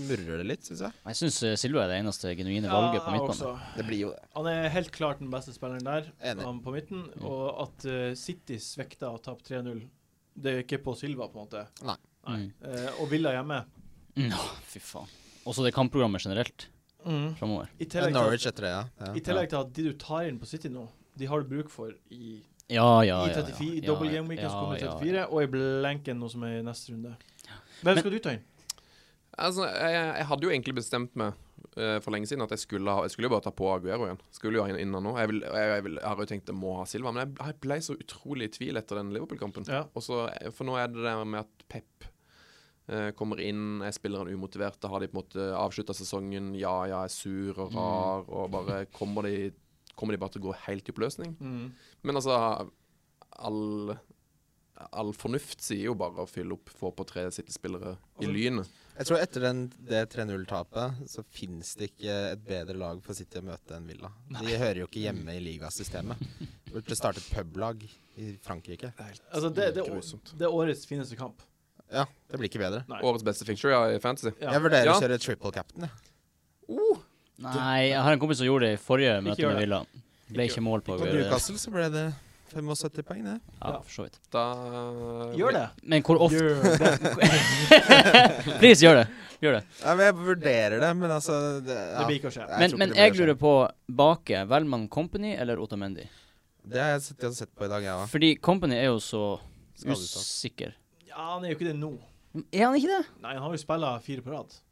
S4: murrer det litt, syns jeg.
S2: Jeg syns Silva er det eneste genuine
S1: Ja,
S2: valget på
S1: jeg
S2: midtbanen.
S1: også.
S4: Det blir jo det.
S1: Han er helt klart den beste spilleren der,
S4: Enig.
S1: han på midten.
S2: Mm.
S1: Og at eh, City svekta og tapte 3-0, det er jo ikke på Silva, på en måte.
S4: Nei.
S1: Nei. Eh, og Villa hjemme.
S2: Nå, fy faen. Mm. Også det kampprogrammet generelt
S1: Mm.
S2: framover.
S1: I
S4: Men
S1: tillegg til
S4: Norwich etter det, ja.
S1: I
S4: ja.
S1: tillegg til at de du tar inn på City nå, de har du bruk for i,
S2: Ja, ja,
S1: i
S2: ja.
S1: 34, i double game weekend som kommer i 34, og i blanken nå som er i neste runde. Hvem
S2: Men-
S1: skal du ta inn?
S5: Altså, jeg, jeg hadde jo egentlig bestemt meg eh, for lenge siden at jeg skulle, ha, jeg skulle jo bare ta på Aguero igjen. Skulle jo ha inn inn han nå. Jeg, vil, jeg, jeg, vil, jeg har jo tenkt jeg må ha Silva, men jeg, jeg ble så utrolig i tvil etter den Liverpool-kampen.
S1: Ja.
S5: Og så- eh, For nå er det det med at Pep eh, kommer inn, jeg spiller han umotivert, da har de på en måte avslutta sesongen, ja, ja, jeg er sur og rar, og bare kommer de, kommer de bare til å gå helt i oppløsning?
S1: Mm.
S5: Men altså, all, all fornuft sier jo bare å fylle opp, få på tre City-spillere i lynet.
S4: Jeg tror etter den, det 3-0-tapet, så fins det ikke et bedre lag for City å møte enn Villa. De hører jo ikke hjemme i ligasystemet. De Burde starte et publag i Frankrike.
S1: Altså, det, det,
S5: Grusomt.
S1: det er årets fineste kamp.
S4: Ja, det blir ikke bedre.
S1: Nei.
S5: Årets beste fixture ja, i Fantasy.
S1: Ja.
S4: Jeg vurderer
S5: Ja.
S4: å kjøre triple captain, jeg.
S2: Nei, jeg har en kompis som gjorde det i forrige møte
S1: gjør
S2: med
S1: det.
S2: Villa. Ble
S1: Ikke
S2: ikke mål på
S4: På
S2: Aguero.
S4: Newcastle så ble det 75 poeng, det.
S2: Ja, for så vidt.
S5: Da
S1: Gjør det!
S2: Men hvor ofte
S1: Gjør det.
S2: Please, gjør det. Gjør det.
S4: Ja, men jeg vurderer det, men altså det, ja.
S1: Det blir ikke å skje.
S2: Men,
S4: Jeg tror ikke
S2: men
S4: det
S2: jeg
S4: blir
S2: lurer på bake. Velger man Company eller Otamendi?
S4: Det har jeg sett, jeg har sett på i dag, jeg òg.
S2: Fordi Company er jo så
S4: Skadeutsatt.
S2: usikker.
S1: Ja, han er jo ikke det nå.
S2: Er han ikke det?
S1: Nei, han har jo spilla fire på rad.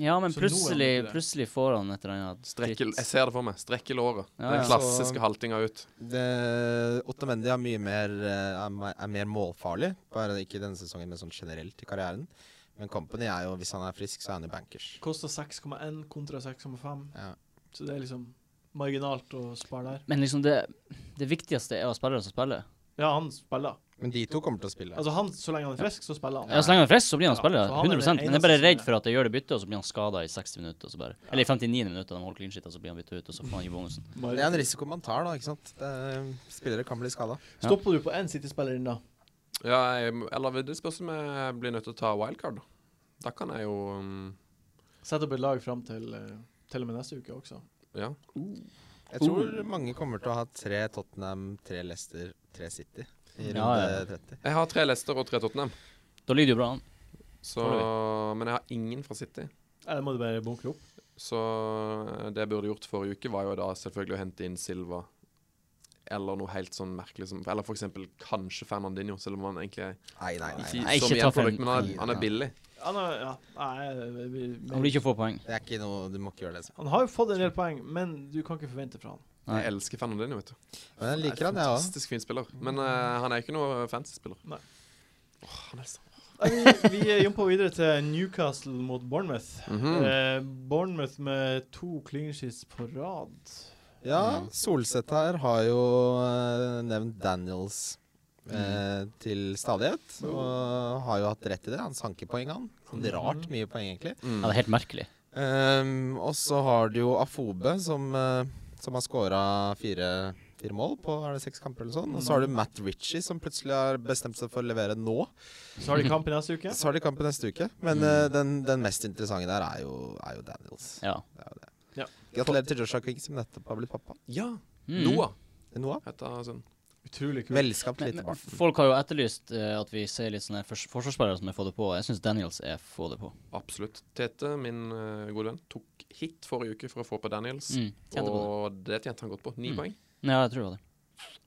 S2: Ja, men
S1: Så nå er han ikke
S2: plutselig,
S1: det.
S2: plutselig får han et eller annet
S5: Strekke,
S2: dritt.
S5: jeg ser det for meg. Strekke låret.
S2: Ja,
S5: Den
S2: ja.
S5: klassiske
S4: Så-
S5: haltinga ut.
S4: Det- Otamendi er mye mer, eh, er, me- er mer målfarlig, bare ikke denne sesongen, men sånn generelt i karrieren. Men Company er jo, hvis han er frisk, så er han jo bankers.
S1: Kosta 6,1 kontra 6,5,
S4: Ja.
S1: så det er liksom marginalt å spare der.
S2: Men liksom det, det viktigste er å ha spillere som spiller.
S1: Ja, han spiller.
S4: Men de to kommer til å spille.
S1: Altså, han, så lenge han er frisk, så spiller han.
S2: Ja, Så lenge han er frisk, så blir han
S1: Ja, så
S2: spiller.
S1: han er den
S2: 100 Men jeg er bare
S1: eneste
S2: redd
S1: som er-
S2: for at jeg gjør det byttet, og så blir han skada i 60 minutter. Og så bare, Eller i 59 minutter, de holder clean shit, og så blir han bytta ut, og så får han ikke bonusen.
S4: det er en risiko man tar, da. ikke sant? Det er, spillere kan bli skada.
S2: Ja.
S1: Stopper du på én City-spiller inn da?
S5: Ja, jeg, eller det spørs om jeg blir nødt til å ta wildcard. da. Da kan jeg jo um,
S1: Sett opp et lag fram til eh, til og med neste uke også.
S5: Ja.
S4: Jeg tror mange kommer til å ha tre Tottenham, tre Leicester, tre City i runde
S2: Ja, ja.
S4: 30.
S5: Jeg har tre Leicester og tre Tottenham,
S2: Da lyder jo bra an.
S5: så, men jeg har ingen fra City.
S1: Ja, det må du bare bunkre opp.
S5: Så eh, det jeg burde gjort forrige uke, var jo da selvfølgelig å hente inn Silva. Eller noe helt sånn merkelig som Eller for eksempel kanskje Fernandinho, selv om han egentlig er
S4: Nei, nei, nei.
S5: ikke
S4: nei.
S2: Nei,
S5: så
S2: ikke
S5: mye
S2: ta
S5: produkt,
S2: Fern-
S5: men han er, han
S4: Ja.
S5: er billig.
S1: Han, har- ja, nei, vi- vi-
S2: Han blir ikke få
S1: Mm.
S2: poeng.
S4: Det er ikke noe, Du må ikke gjøre det. altså.
S1: han har jo fått en del poeng, men du kan ikke forvente fra han.
S2: Nei.
S5: Jeg elsker Fernandinho, vet du.
S4: Men jeg liker
S5: er
S4: han, jeg òg.
S5: Fantastisk fin spiller. Men eh, han er ikke noe fancy spiller.
S1: Nei.
S5: Åh, han er så
S1: Nei, Vi, vi jumper videre til Newcastle mot Bournemouth.
S2: Mhm.
S5: Mm.
S1: eh, Bournemouth med to clean sheets på rad.
S4: Ja, Solseth her har jo eh, nevnt Daniels eh, til stadighet. Og har jo hatt rett i det. Han sanker poeng, han. Sånn rart mye poeng, egentlig.
S2: Ja, det er helt merkelig.
S4: Ehm, og så har du jo Afobe, som, eh, som har scora fire, fire mål på er det seks kamper eller sånn. Og så har du Matt Ritchie, som plutselig har bestemt seg for å levere nå.
S1: Så har de kamp i neste uke.
S4: Så har de kampen neste uke. Men eh, den, den mest interessante der er jo, er jo Daniels.
S2: Ja.
S4: Det er jo det.
S1: Ja.
S4: Gratulerer til Joshua King, som nettopp har blitt pappa.
S5: Ja.
S2: Mm.
S5: Noah
S4: Noah.
S5: heter sønnen.
S1: Utrolig kult.
S4: Velskapt
S2: Men-
S4: lite
S2: men
S4: barn.
S2: Folk har jo etterlyst eh, at vi ser litt sånne fors forsvarsspillere som er få det på. Jeg syns Daniels er få det på.
S5: Absolutt. Tete, min eh, gode venn, tok hit forrige uke for å få på Daniels.
S2: Mm. Tjente på det.
S5: Og det tjente han godt på. Ni
S2: Mm.
S5: poeng.
S2: Ja, jeg tror det.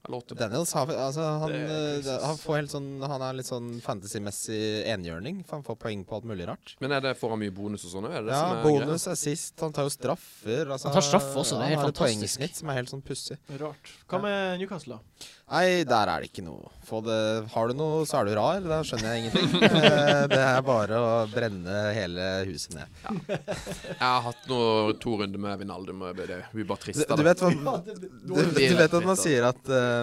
S5: Eller åtte.
S4: Daniels har, altså, han,
S5: Det er
S4: eh, han får helt sånn Han er litt sånn fantasymessig enhjørning. For han får poeng på alt mulig rart.
S5: Men er det, får han mye bonus og sånn òg?
S4: Ja, bonus, assist, han tar jo straffer. Altså,
S2: Han tar straffe også, det er helt
S4: han
S2: fantastisk.
S4: har et poengsnitt som er helt sånn pussig.
S1: Rart. Hva med Newcastle, da?
S4: Nei, der er det ikke noe. Få det, har du noe, så er du rar. Da skjønner jeg ingenting. Eh, det er bare å brenne hele huset ned.
S5: Jeg har hatt noe, to runder med Vinaldum. og Det det blir bare
S4: Du,
S5: trist. av
S4: du,
S5: det.
S4: vet, hva,
S1: det, det,
S4: du, du vet
S1: altså.
S4: at man sier at eh,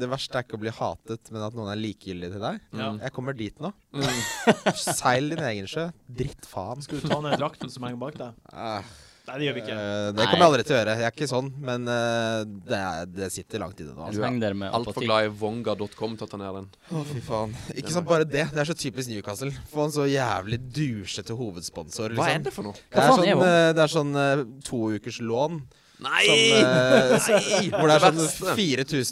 S4: det verste er ikke å bli hatet, men at noen er likegyldig til deg.
S1: ja.
S4: Jeg kommer dit nå.
S5: Mm.
S4: Seil din egen sjø. Dritt faen.
S1: Skal du ta ned drakten som henger bak deg?
S4: Ah,
S1: Nei, det gjør vi ikke.
S4: eh, det kommer jeg
S2: Nei.
S4: aldri til å gjøre. Jeg er ikke sånn, men eh, det, er- det sitter langt inne nå.
S2: Jeg
S4: Altså.
S2: henger der med
S5: Altfor
S2: apati.
S5: glad i vonga.com til å ta ned den.
S4: Å, fy faen. Ikke sant bare det. Det er så typisk Newcastle. Få en så jævlig dusjete hovedsponsor.
S5: Hva er
S4: Liksom.
S5: det for noe?
S4: Det
S2: Hva
S4: er
S2: faen er
S4: sånn,
S2: Wong?
S4: eh, det er sånn eh, to ukers lån
S5: Nei!
S4: som, eh, s- hvor det er
S5: Det
S4: sånn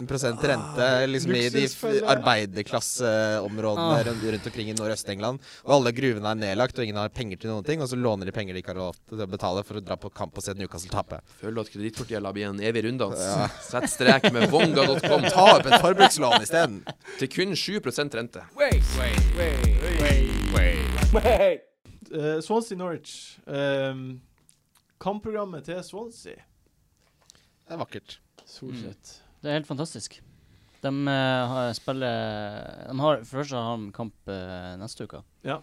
S4: 4000 rente liksom, i de f-
S1: luksusfelle.
S4: arbeiderklasseområdene
S2: Ah.
S4: rundt, rundt omkring i Nordøst-England. Og alle gruvene er nedlagt, og ingen har penger til noen ting. Og så låner de penger de ikke har råd til å betale, for å dra på kamp og se Newcastle tape.
S5: Føler du at kredittkortgjelda blir en evig runddans? Sett strek med vonga.com
S4: Ta opp et forbrukslån isteden.
S5: til kun 7 rente.
S1: Eh, Swansea Norwich. Ehm, kampprogrammet til Swansea.
S4: Det er vakkert.
S1: Solsett.
S2: Det er helt fantastisk. De eh, har, spiller de har, For det første har de kamp eh, neste uke.
S1: Ja.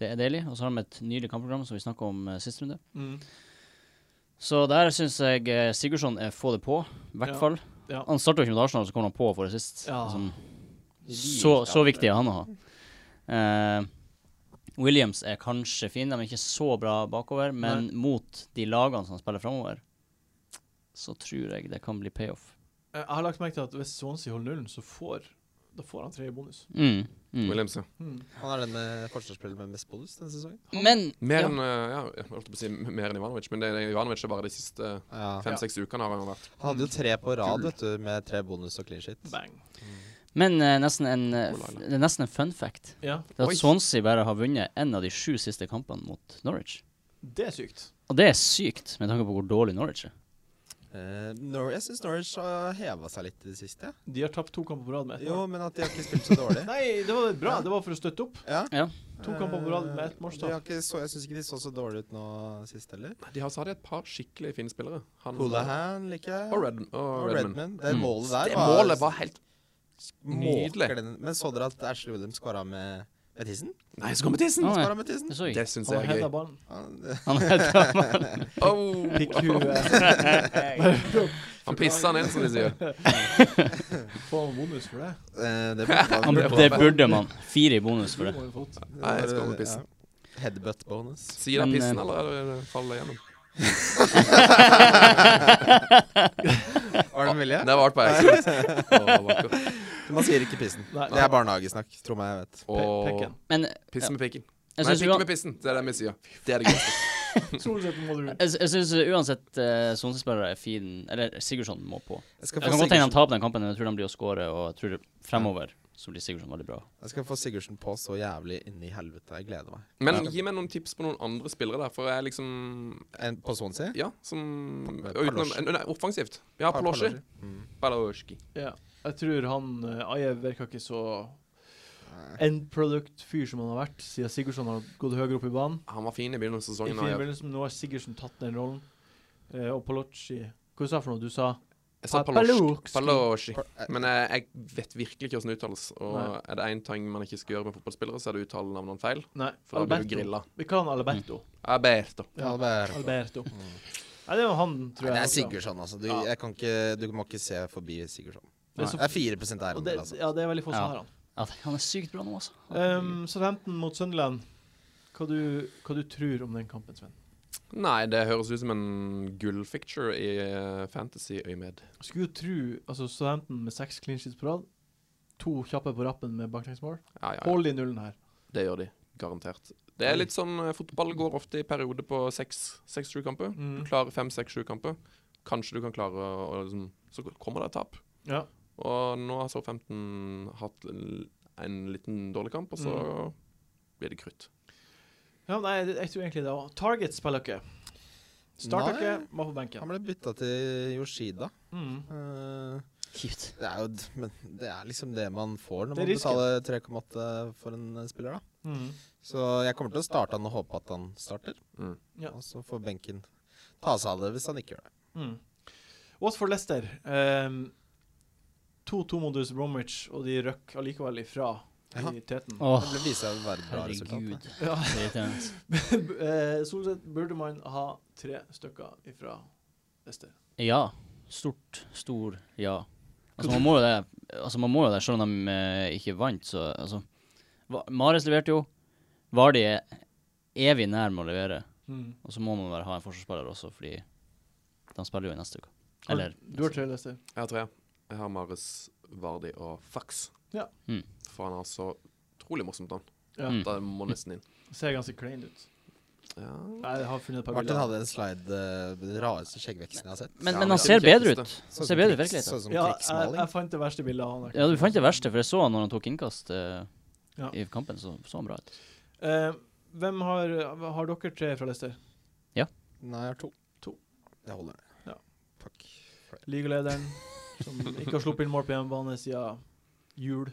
S2: Det er deilig. Og så har de et nylig kampprogram som vi snakka om uh, sist runde.
S1: Mm.
S2: Så der syns jeg eh, Sigurdsson er få det på, i hvert
S1: Ja.
S2: fall.
S1: Ja.
S2: Han starta jo ikke med Arsenal, så kom han på for det sist.
S1: Ja.
S2: Sånn. Så, så viktig er han å ha. Eh, Williams er kanskje fin, de er ikke så bra bakover, men mot de lagene som spiller framover, så tror jeg det kan bli payoff.
S1: Eh, Jeg har lagt merke til at hvis Swansea holder nullen, så får da får han tre i bonus.
S2: Mm. Mm.
S5: Williams, ja.
S1: Mm.
S4: Han er den eh, forsvarsspilleren med mest bonus denne sesongen.
S2: Men
S5: Mer
S2: ja.
S5: enn eh, ja, jeg holdt på å si mer enn Ivanovic, men det er Ivanovic er bare de siste
S4: Ja.
S5: fem-seks ukene har han vært.
S4: Han hadde jo tre på rad, vet du, med tre bonus og clean shit.
S1: Bang.
S2: Men eh, nesten en, eh,
S5: Oh, Laila.
S2: f- det er nesten en fun fact.
S1: Ja,
S2: Det er
S5: Oi.
S2: at Swansea bare har vunnet en av de sju siste kampene mot Norwich.
S1: det er sykt.
S2: Og det er sykt, med tanke på hvor dårlig Norwich er.
S4: Eh, Nor jeg syns Norwich har heva seg litt i det siste.
S1: De har tapt to kamper på rad med ett
S4: Jo,
S1: mål.
S4: men at de har ikke spilt så dårlig.
S1: Nei, det var bra. Det var for å støtte opp.
S4: Ja.
S2: Ja.
S1: To kamper på rad med ett målstap.
S4: De har ikke så- Jeg syns ikke de så så dårlig ut nå sist heller.
S5: De har, så har de et par skikkelig fine spillere. Han,
S4: Hulahan liker jeg.
S5: Og, Red, og
S4: Og
S5: Redman.
S4: Redman. Det
S2: Mm.
S4: målet der
S5: Det målet var helt nydelig.
S4: måkende. Men så dere at Ashley Williams skåra med, med tissen?
S5: Nei, så kommer tissen!
S2: Ah, nei.
S4: Skåra med tissen?
S2: Det så jeg
S5: Det
S2: ikke.
S5: syns
S1: Han har
S5: jeg er
S1: heada
S5: gøy.
S1: ballen.
S4: Han, det-
S2: Han er helt
S5: Oh,
S1: Pikkhue.
S5: han pissa han inn, som de sier.
S1: Får han bonus for det?
S4: eh, det burde
S2: Han,
S5: Det var
S2: det
S5: bra.
S2: burde man. Fire i bonus
S1: Det
S2: for det.
S1: må han fått.
S5: Nei, jeg skal holde pissen.
S4: Ja. Headbutt bonus.
S5: Sier han
S2: Men,
S5: pissen,
S2: eh,
S5: eller er det- faller det gjennom?
S4: Var det med vilje?
S5: Det var alt på Eidsvoll. Å, vakkert.
S4: Man sier ikke pissen.
S1: Nei,
S4: Det er barnehagesnakk, tror meg jeg vet.
S1: Pe-
S5: Og
S1: Pekken.
S2: Men eh,
S5: pisse med pikken.
S2: jeg
S5: Nei,
S2: syns
S5: pikke med
S2: uansett,
S5: pissen. Det er det vi sier. Det er det gøyeste.
S1: Solsett må du
S2: jeg, jeg synes uansett eh, Swansea-spillere er fin Eller Sigurdsson må på.
S4: Jeg
S2: Det
S4: skal
S2: kan
S4: få
S2: godt hende han
S4: Sigurdsson,
S2: taper den kampen, men jeg tror han blir å score, og jeg tror fremover så blir Sigurdsson veldig bra.
S4: jeg skal få Sigurdsson på så jævlig inni helvete. Jeg gleder meg.
S5: Men
S4: Ja.
S5: gi meg noen tips på noen andre spillere der, for jeg er liksom
S4: En, på Swansea?
S5: Ja, som
S4: Pa-
S5: utenom,
S4: Palosji.
S5: Nei, offensivt. Ja,
S4: Par-
S5: Palosji.
S4: Palosji. Mm.
S5: Palosji.
S1: Ja. Jeg tror han eh, Ajev virka ikke så endproduct-fyr som han har vært, siden Sigurdsson har gått høyere opp i banen.
S5: Han var fin i begynnelsen av
S1: I
S5: sesongen.
S1: fin
S5: Ajev.
S1: begynnelse, men nå har Sigurdsson tatt den rollen. Eh, og Palocci Hva sa du for noe? Du sa
S5: Jeg sa
S1: Pa-
S5: Palosji.
S1: Palosji.
S5: Palosji.
S4: Par- eh,
S5: Men jeg, jeg vet virkelig ikke hvordan det uttales. Og
S1: Nei.
S5: er det én ting man ikke skal gjøre med fotballspillere, så er det å uttale navnene feil.
S1: Nei,
S5: For da blir du
S1: Alberto.
S5: grilla.
S1: Vi kaller han Alberto.
S5: Alberto.
S1: Ja,
S4: Albert.
S1: Alberto. Nei, det var han, tror jeg.
S4: Nei, det er
S1: også.
S4: Sigurdsson, altså. Du,
S1: Ja.
S4: jeg kan ikke, du må ikke se forbi Sigurdsson.
S1: Det er
S4: Det
S1: så-
S4: er 4
S1: Og
S4: ærendel,
S1: det,
S4: altså.
S1: ja, det er veldig få som
S2: Ja.
S1: har han.
S2: Ja, det- han er sykt bra nå, altså.
S1: Ehm, Um, Southampton mot Sunderland. Hva du, hva du tror om den kampen, Sven?
S5: Nei, det høres ut som en gullficture i eh, fantasy-øyemed.
S1: Skulle jo tro altså studenten med seks clean sheets på rad, to kjappe på rappen med baklengsmål.
S5: Ja, ja, ja.
S1: Hold i nullen her.
S5: Det gjør de. Garantert. Det er litt sånn eh, Fotball går ofte i perioder på seks- seks-sju kamper. Du
S1: Mm.
S5: klarer fem, seks, sju kamper. Kanskje du kan klare å, å liksom, Så kommer det et tap.
S1: Ja.
S5: Og nå har Southampton hatt l- en liten dårlig kamp, og så
S1: Mm.
S5: blir det krutt.
S1: ja, nei, det- jeg tror egentlig det òg. Target spiller ikke. Starter
S4: Nei.
S1: ikke, må på benken.
S4: Han ble bytta til Yoshida.
S1: Mm.
S4: Eh,
S2: Kjipt.
S4: det er jo d- Men det er liksom det man får når
S1: Det er
S4: man betaler 3,8 for en eh, spiller, da.
S1: Mm.
S4: Så jeg kommer til å starte han og håpe at han starter.
S5: Mm.
S1: Ja.
S4: Og så får benken ta seg av det hvis han ikke gjør det.
S1: Mm. Watford Leicester. ehm, 2-2 mot West Bromwich, og de røkk allikevel ifra
S4: Ja.
S1: i teten.
S2: Åh,
S4: Det vil vise seg å være et bra resultat.
S2: herregud.
S4: da.
S1: Ja.
S2: Så irriterende.
S1: Eh, Stort sett burde man ha tre stykker ifra Leicester.
S2: Ja. Stort, stor ja. Altså, man må jo det. Altså, man må jo det, selv om de eh, ikke vant, så altså Va- Mares leverte jo. Vardi er evig nær med å levere.
S4: Mm.
S2: Og så må man bare ha en forsvarsspiller også, fordi de spiller jo i neste uke. Eller altså.
S1: Du har tre Leicester.
S5: Jeg har tre. Jeg har Mares, Vardi og Fax.
S1: Ja.
S2: Mm.
S5: For han har så utrolig morsomt navn.
S1: Ja.
S2: Mm.
S5: Da må nesten inn.
S1: Ser ganske klein ut.
S5: Ja.
S1: Nei, jeg har funnet et par
S4: Martin hadde en slide eh, med den rareste skjeggveksten jeg har sett.
S2: Men,
S5: Ja,
S2: men
S5: men
S2: han
S5: det
S2: ser
S5: er det
S2: bedre ut.
S5: kjekkeste.
S4: Sånn
S2: ser
S4: som
S2: bedre ut i
S4: krigs-
S2: virkeligheten.
S4: Sånn som
S1: Ja, jeg,
S4: krigsmaling.
S1: jeg fant det verste bildet av han.
S2: Ja, du fant det verste, for jeg så han når han tok innkast eh,
S1: Ja.
S2: i kampen, så så han bra ut.
S1: Eh, hvem har, har dere tre fra Leicester?
S4: Nei, jeg har to.
S1: To.
S4: Det holder.
S1: Ja.
S4: Takk.
S1: Ligalederen, som ikke har sluppet inn mål på hjemmebane siden jul.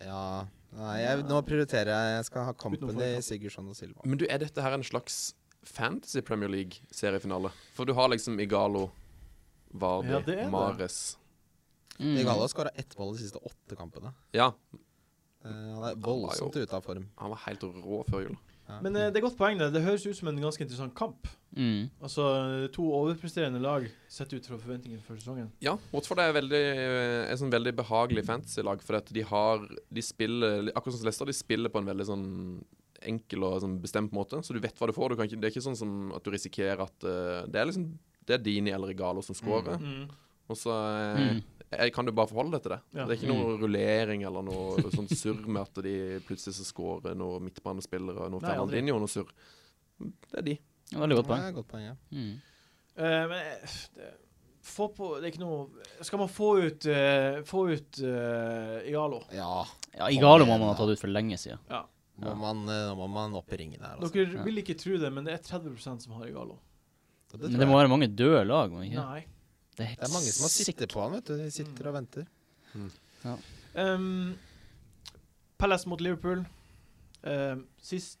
S4: Ja Nei, jeg, nå prioriterer jeg. Jeg skal ha Company,
S1: Utenfor.
S4: Sigurdsson og Silva.
S5: Men du, er dette her en slags Fantasy Premier League-seriefinale? For du har liksom Igalo, Vardi,
S1: Ja, det er det.
S5: Mares
S2: Mm.
S4: Igalo har skåra ett mål de siste åtte kampene.
S5: Ja,
S4: Eh, han
S5: var
S4: er
S5: jo-
S4: voldsomt ute av form.
S5: han var helt rå før jul.
S4: Ja.
S1: Men eh, det er godt poeng, det. Det høres ut som en ganske interessant kamp.
S2: Mm.
S1: Altså to overpresterende lag sett ut fra forventningene før sesongen.
S5: Ja, Watford er veldig, eh, et sånn veldig behagelig fantasy-lag. For at de har De spiller Akkurat som Leicester, de spiller på en veldig sånn enkel og sånn bestemt måte. Så du vet hva du får. Du kan ikke, det er ikke sånn som at du risikerer at eh, Det er liksom Det er Dini eller Regalo som scorer.
S1: Mm.
S5: Og så eh,
S2: Mm.
S5: eh, kan du bare forholde deg til det.
S1: Ja.
S5: Det er ikke noe rullering eller noe sånn surr med at de plutselig så scorer noen midtbanespillere og noe
S1: Nei, aldri.
S5: Fernandinho og noe surr. Det er de.
S2: Det var Veldig godt poeng.
S4: Ja, godt poeng ja.
S2: Mm.
S1: Eh, men eh, det, få på Det er ikke noe Skal man få ut eh, Få ut eh, Igalo?
S4: ja.
S2: Ja, Igalo må man ha tatt ut for lenge siden.
S4: Må
S2: Ja.
S4: man, eh, nå må man opp i ringen her, altså.
S1: Dere
S2: Ja.
S1: vil ikke tro det, men det er 30 som har Igalo.
S4: Og
S2: Men
S4: tror
S2: det
S4: jeg.
S2: må være mange døde lag. Må det ikke?
S1: Nei.
S2: Det er helt
S4: Det er mange som har
S2: sikkert.
S4: sittet på han, vet du. De sitter og venter.
S1: Um, Palace mot Liverpool. Um, sist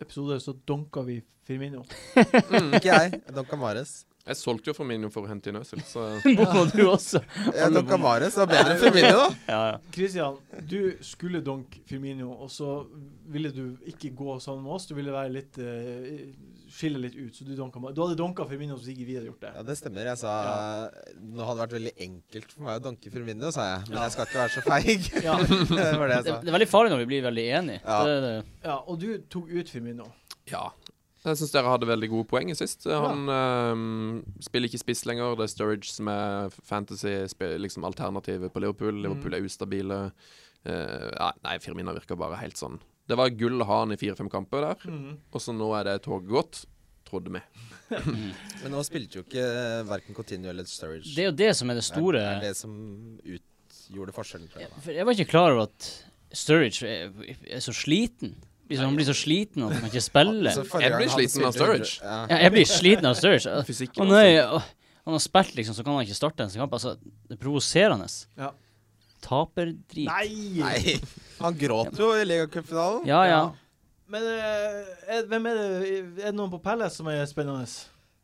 S1: episode så donka vi Firmino.
S4: Ikke jeg. Don Camares.
S5: Jeg solgte jo Firmino for å hente inn Øzil, så
S2: Må du også.
S4: Ja, Don Camares var bedre enn Firmino, da.
S2: Ja, ja.
S1: Christian, du skulle donke Firmino, og så ville du ikke gå sammen med oss. Du ville være litt eh, skille litt ut, så du donka meg. Du hadde donka Firmino hvis ikke vi hadde gjort
S4: Ja,
S1: det.
S4: det stemmer. Jeg sa Nå hadde det vært veldig enkelt for meg å donke Firmino, sa jeg. Men jeg skal ikke være så feig.
S1: Ja,
S4: det var det jeg
S2: Det,
S4: sa.
S2: det er veldig farlig når vi blir veldig enige.
S4: altså- Ja.
S2: Det, er det.
S1: ja og du tok ut Firmino.
S5: Ja. Jeg syns dere hadde veldig gode poeng i sist. Han ehm, spiller ikke spiss lenger. Det er Sturridge som er fantasy-alternativet liksom alternativet på
S1: Mm.
S5: Liverpool. Liverpool er ustabile. Eh, ja, nei, Firmina virker bare helt sånn. Det var gull å ha han i fire-fem kamper der,
S1: Mhm.
S5: og så nå er det toget gått. Trodde vi.
S4: Men nå spilte jo ikke verken Coutinho eller Sturridge.
S2: det er jo det som er det store
S4: Det er det som utgjorde forskjellen, tror jeg. Da.
S2: For jeg var ikke klar over at Sturridge er, er så sliten. Liksom, han blir så sliten at han kan ikke spille.
S4: Så Altså, forrige
S5: Jeg blir
S4: gang han
S5: sliten av
S4: spilte under-
S5: Sturridge.
S4: Ja.
S2: Ja, jeg blir sliten av Sturridge. Å
S5: Fysikken
S2: nei, å, han har spilt, liksom, så kan han ikke starte neste kamp. Altså, det er provoserende.
S1: Ja.
S2: Taperdrit.
S1: Nei!
S4: Nei. Han gråt jo i ligacupfinalen.
S2: Ja, ja.
S1: Men eh, er, hvem er det Er det noen på Palace som er spennende?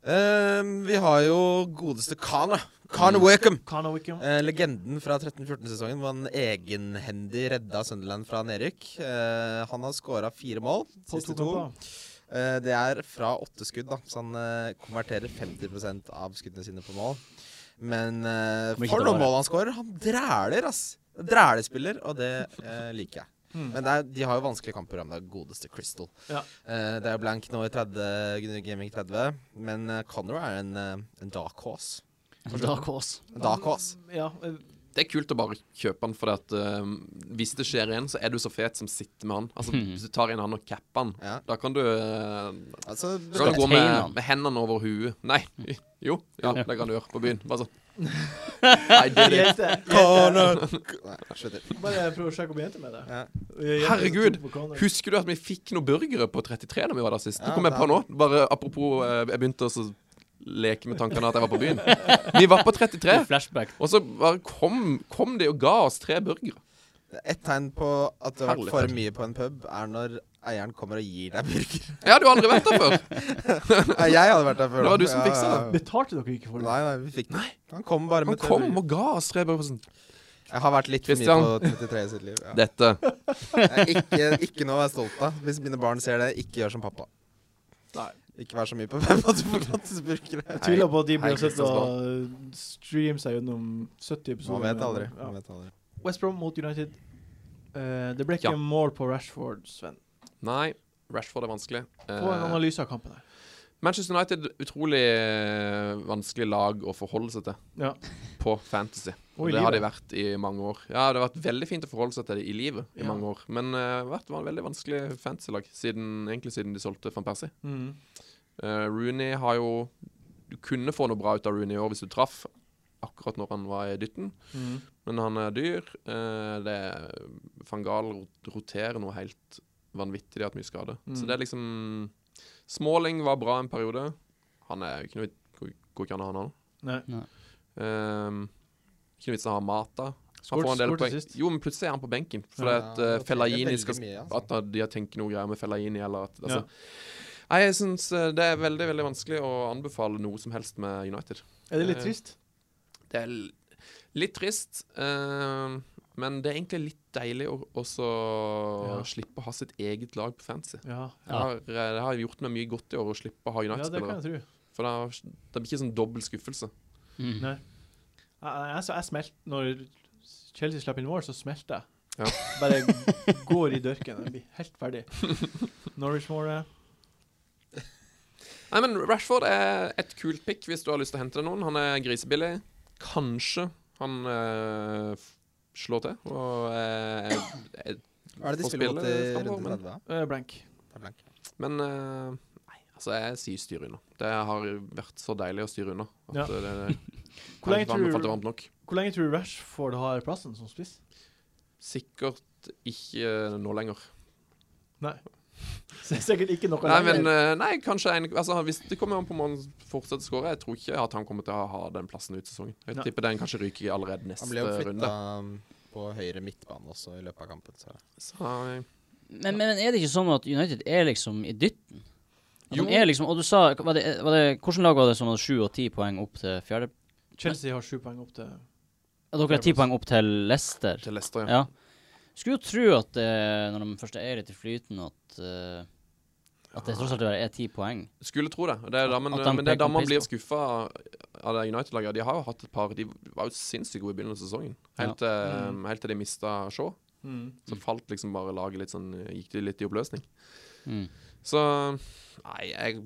S4: Ehm, vi har jo godeste Khan, da. Khan Wakeham.
S1: Kana Wickham?
S4: Eh, legenden fra 13-14-sesongen hvor han egenhendig redda Sunderland fra nedrykk. Eh, han har skåra fire mål.
S1: På
S4: Siste
S1: to
S4: to.
S1: kamper.
S4: Eh, det er fra åtte skudd, da. Så han eh, konverterer 50 av skuddene sine på mål. Men eh,
S2: Men ikke
S4: for
S2: det
S4: noen
S2: bare.
S4: mål han skårer! Han dræler, ass! Drælespiller, og det eh, liker jeg.
S1: Mm.
S4: Men det er, de har jo vanskelige kampprogram. Det er godeste Crystal.
S1: Ja.
S4: Eh, det er blank nå i 30, Gaming 30, men eh, Conor er en, eh, en dark horse.
S2: Da kås.
S4: En dark horse.
S1: Ja, eh,
S5: Det er kult å bare kjøpe den, for at, eh, hvis det skjer igjen, så er du så fet som sitter med han. Altså, Hvis du tar inn han og capper han,
S4: Ja.
S5: da kan du eh,
S4: Altså,
S5: Da kan du
S2: Tegne
S5: gå med,
S2: han.
S5: med hendene over huet. Nei. Jo, ja, det kan du gjøre på byen. Bare sånn. I did it.
S1: jente.
S4: Conor! Nei, slutter.
S1: Bare prøv å sjekke om jenter med det.
S4: Ja.
S1: Jenter som
S5: Herregud,
S1: tror på Conor.
S5: Husker du at vi fikk noen burgere på 33 da vi var der sist?
S4: Ja,
S5: Det kom jeg på nå.
S4: det
S5: Bare apropos eh, Jeg begynte å så leke med tankene at jeg var på byen. Vi var på 33,
S2: Flashback.
S5: og så bare kom, kom de og ga oss tre burgere.
S4: Et tegn på at det har vært
S5: Herlig
S4: for
S5: fest.
S4: mye på en pub, er når eieren kommer og gir deg burger.
S5: Ja, du har aldri vært der før.
S4: Nei, jeg hadde vært der før.
S5: Det var
S4: da.
S5: du som fiksa
S4: Ja, ja, ja.
S1: Betalte dere ikke for det?
S4: Nei, nei, vi fikk den. Han kom bare
S5: Han
S4: med tre
S5: kom
S4: burger.
S5: og ga oss tre burgere. Sånn.
S4: Jeg har vært litt for mye på
S5: Christian.
S4: 33 i sitt liv. Ja.
S5: Dette.
S4: Jeg er Ikke, ikke noe å være stolt av. Hvis mine barn ser det, ikke gjør som pappa.
S1: Nei.
S4: Ikke vær så mye på pub at du får gratis burgere.
S1: Jeg tviler på at de
S4: Hei,
S1: blir sett
S4: Kristiansborg.
S1: og streame seg gjennom 70 episoder.
S4: Man vet aldri.
S1: Ja.
S4: Man vet aldri.
S1: West Brom mot United. Eh, det ble ikke
S5: Ja.
S1: mål på Rashford, Sven.
S5: Nei, Rashford er vanskelig.
S1: Få en
S5: Eh,
S1: analyse av kampen her.
S5: Manchester United utrolig eh, vanskelig lag å forholde seg til
S1: Ja.
S5: på Fantasy.
S1: Og i
S5: Og det har de
S1: livet.
S5: vært i mange år. Ja, det har vært veldig fint å forholde seg til det i livet i
S1: Ja.
S5: mange år. Men eh, det har vært var et veldig vanskelig fantasy-lag, siden- egentlig siden de solgte van Persie.
S1: Mm.
S5: Eh, Rooney har jo Du kunne få noe bra ut av Rooney i år hvis du traff akkurat når han var i dytten,
S1: Mm.
S5: men han er dyr. Eh, det er, van Gaal rot- roterer noe helt vanvittig. De har hatt mye skade.
S1: Mm.
S5: Så det er liksom Smalling var bra en periode. Han er jo ikke noe Går går ikke an å ha han òg.
S1: Nei.
S5: ikke noe vits i å ha Mata. Han
S1: Skåret-
S5: får en del
S1: skåret til
S5: poeng.
S1: sist.
S5: Jo, men plutselig er han på benken. Fordi
S1: Ja,
S5: at eh,
S4: det er
S5: Fellaini
S4: veldig
S5: skal
S4: mye, altså.
S5: At da de har tenkt noe greier med Fellaini, eller at altså.
S1: Ja.
S5: Nei, jeg syns det er veldig veldig vanskelig å anbefale noe som helst med United.
S1: Er det litt
S5: Eh,
S1: trist?
S5: Det er l- litt trist, eh, men det er egentlig litt deilig å også
S1: Ja.
S5: slippe å ha sitt eget lag på fancy.
S1: Ja.
S5: Det har, eh, det har gjort meg mye godt i år å slippe å ha
S1: ja, det kan
S5: United-spillere.
S1: jeg tro.
S5: For det, har, det blir ikke sånn dobbel skuffelse.
S2: Mm.
S1: Nei. Jeg, jeg, jeg, jeg smelt, når Chelsea slapp inn mål, så smelter jeg.
S5: Ja.
S1: Bare g- går i dørken. Jeg blir helt ferdig. Norwich-målet.
S5: Nei, men Rashford er et kult pick hvis du har lyst til å hente deg noen. Han er grisebillig. Kanskje han eh, f- slår til og eh, er- er
S4: Hva er det de
S5: Få
S4: spiller mot i
S5: spille
S4: runde
S5: fremover,
S4: 30? da?
S1: eh, blank.
S4: Det er blank.
S5: Men eh, nei, altså, jeg sier styr unna. Det har vært så deilig å styre unna. At
S1: Ja.
S5: ja. det, det,
S1: Hvor lenge
S5: Kan ikke være med for at det
S1: tror-
S5: varmt nok.
S1: Hvor lenge tror du Rashford har plassen som spiss?
S5: Sikkert ikke eh, nå lenger.
S1: Nei. Så det er Sikkert ikke noe
S5: Nei,
S1: lenger.
S5: men eh, nei, kanskje en altså, Hvis det kommer an på om han fortsetter å skåre, jeg tror ikke at han kommer til å ha den plassen ut sesongen. Jeg
S1: Nei.
S5: tipper den kanskje ryker allerede
S4: Han
S5: neste
S4: ble jo flytta
S5: runde.
S4: på høyre midtbane også i løpet av kampen. Så.
S5: Så, eh,
S2: Men, men er det ikke sånn at United er liksom i dytten? At
S5: Jo.
S2: de er liksom, og du sa, var det, var det, Hvordan lag var det som hadde sju og ti poeng opp til fjerde?
S5: eh,
S1: Chelsea har sju poeng opp til
S2: Ja, dere har ti poeng opp til Leicester.
S5: til Leicester,
S2: Ja.
S5: ja.
S2: Skulle jo tro at eh, når de først er litt i flyten, at eh, At det tross alt er ti poeng.
S5: Skulle tro det. det er da, men,
S2: At han
S5: men det er da
S2: peker
S5: man
S2: piss
S5: blir
S2: på.
S5: skuffa av det United-laget. De har jo hatt et par De var jo sinnssykt gode i begynnelsen av sesongen. Helt, eh,
S1: Mm.
S5: helt til de mista Shaw.
S1: mm.
S5: Så falt liksom bare laget litt sånn Gikk de litt i oppløsning.
S2: Mm.
S5: Så Nei, jeg,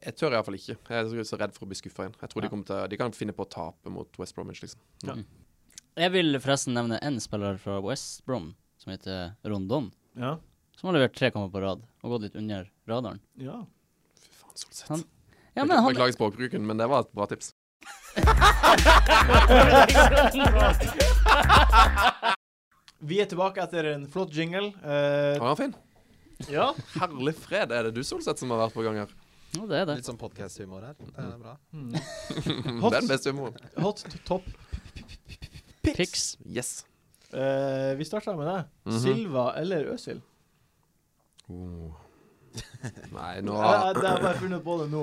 S5: jeg tør iallfall ikke. Jeg er så- så redd for å bli skuffa igjen. Jeg tror
S2: Ja.
S5: de, kommer til, de kan finne på å tape mot West Bromwich, liksom.
S2: Jeg vil forresten nevne én spiller fra West Brom som heter Rondon.
S1: Ja.
S2: Som har levert tre kamper på rad og gått litt under radaren.
S1: ja.
S5: Fy faen, sånn Solseth.
S2: Han- Ja, men han
S5: Beklager språkbruken, men det var et bra tips.
S1: Vi er tilbake etter en flott jingle. Eh,
S5: Var han fin?
S1: ja.
S5: Herlig fred, er det du, Solseth, som har vært på gang her?
S2: Jo, det er det.
S4: Litt sånn podcast-humor her. Det er bra.
S1: Mm.
S5: Det
S1: Hot.
S5: er den beste humoren.
S1: Hot to- top.
S2: Piks.
S5: Yes.
S1: Eh, vi starter med deg.
S5: Mhm.
S1: Silva eller Øsil?
S5: Nei, nå
S1: Jeg, jeg, jeg har bare funnet på det nå,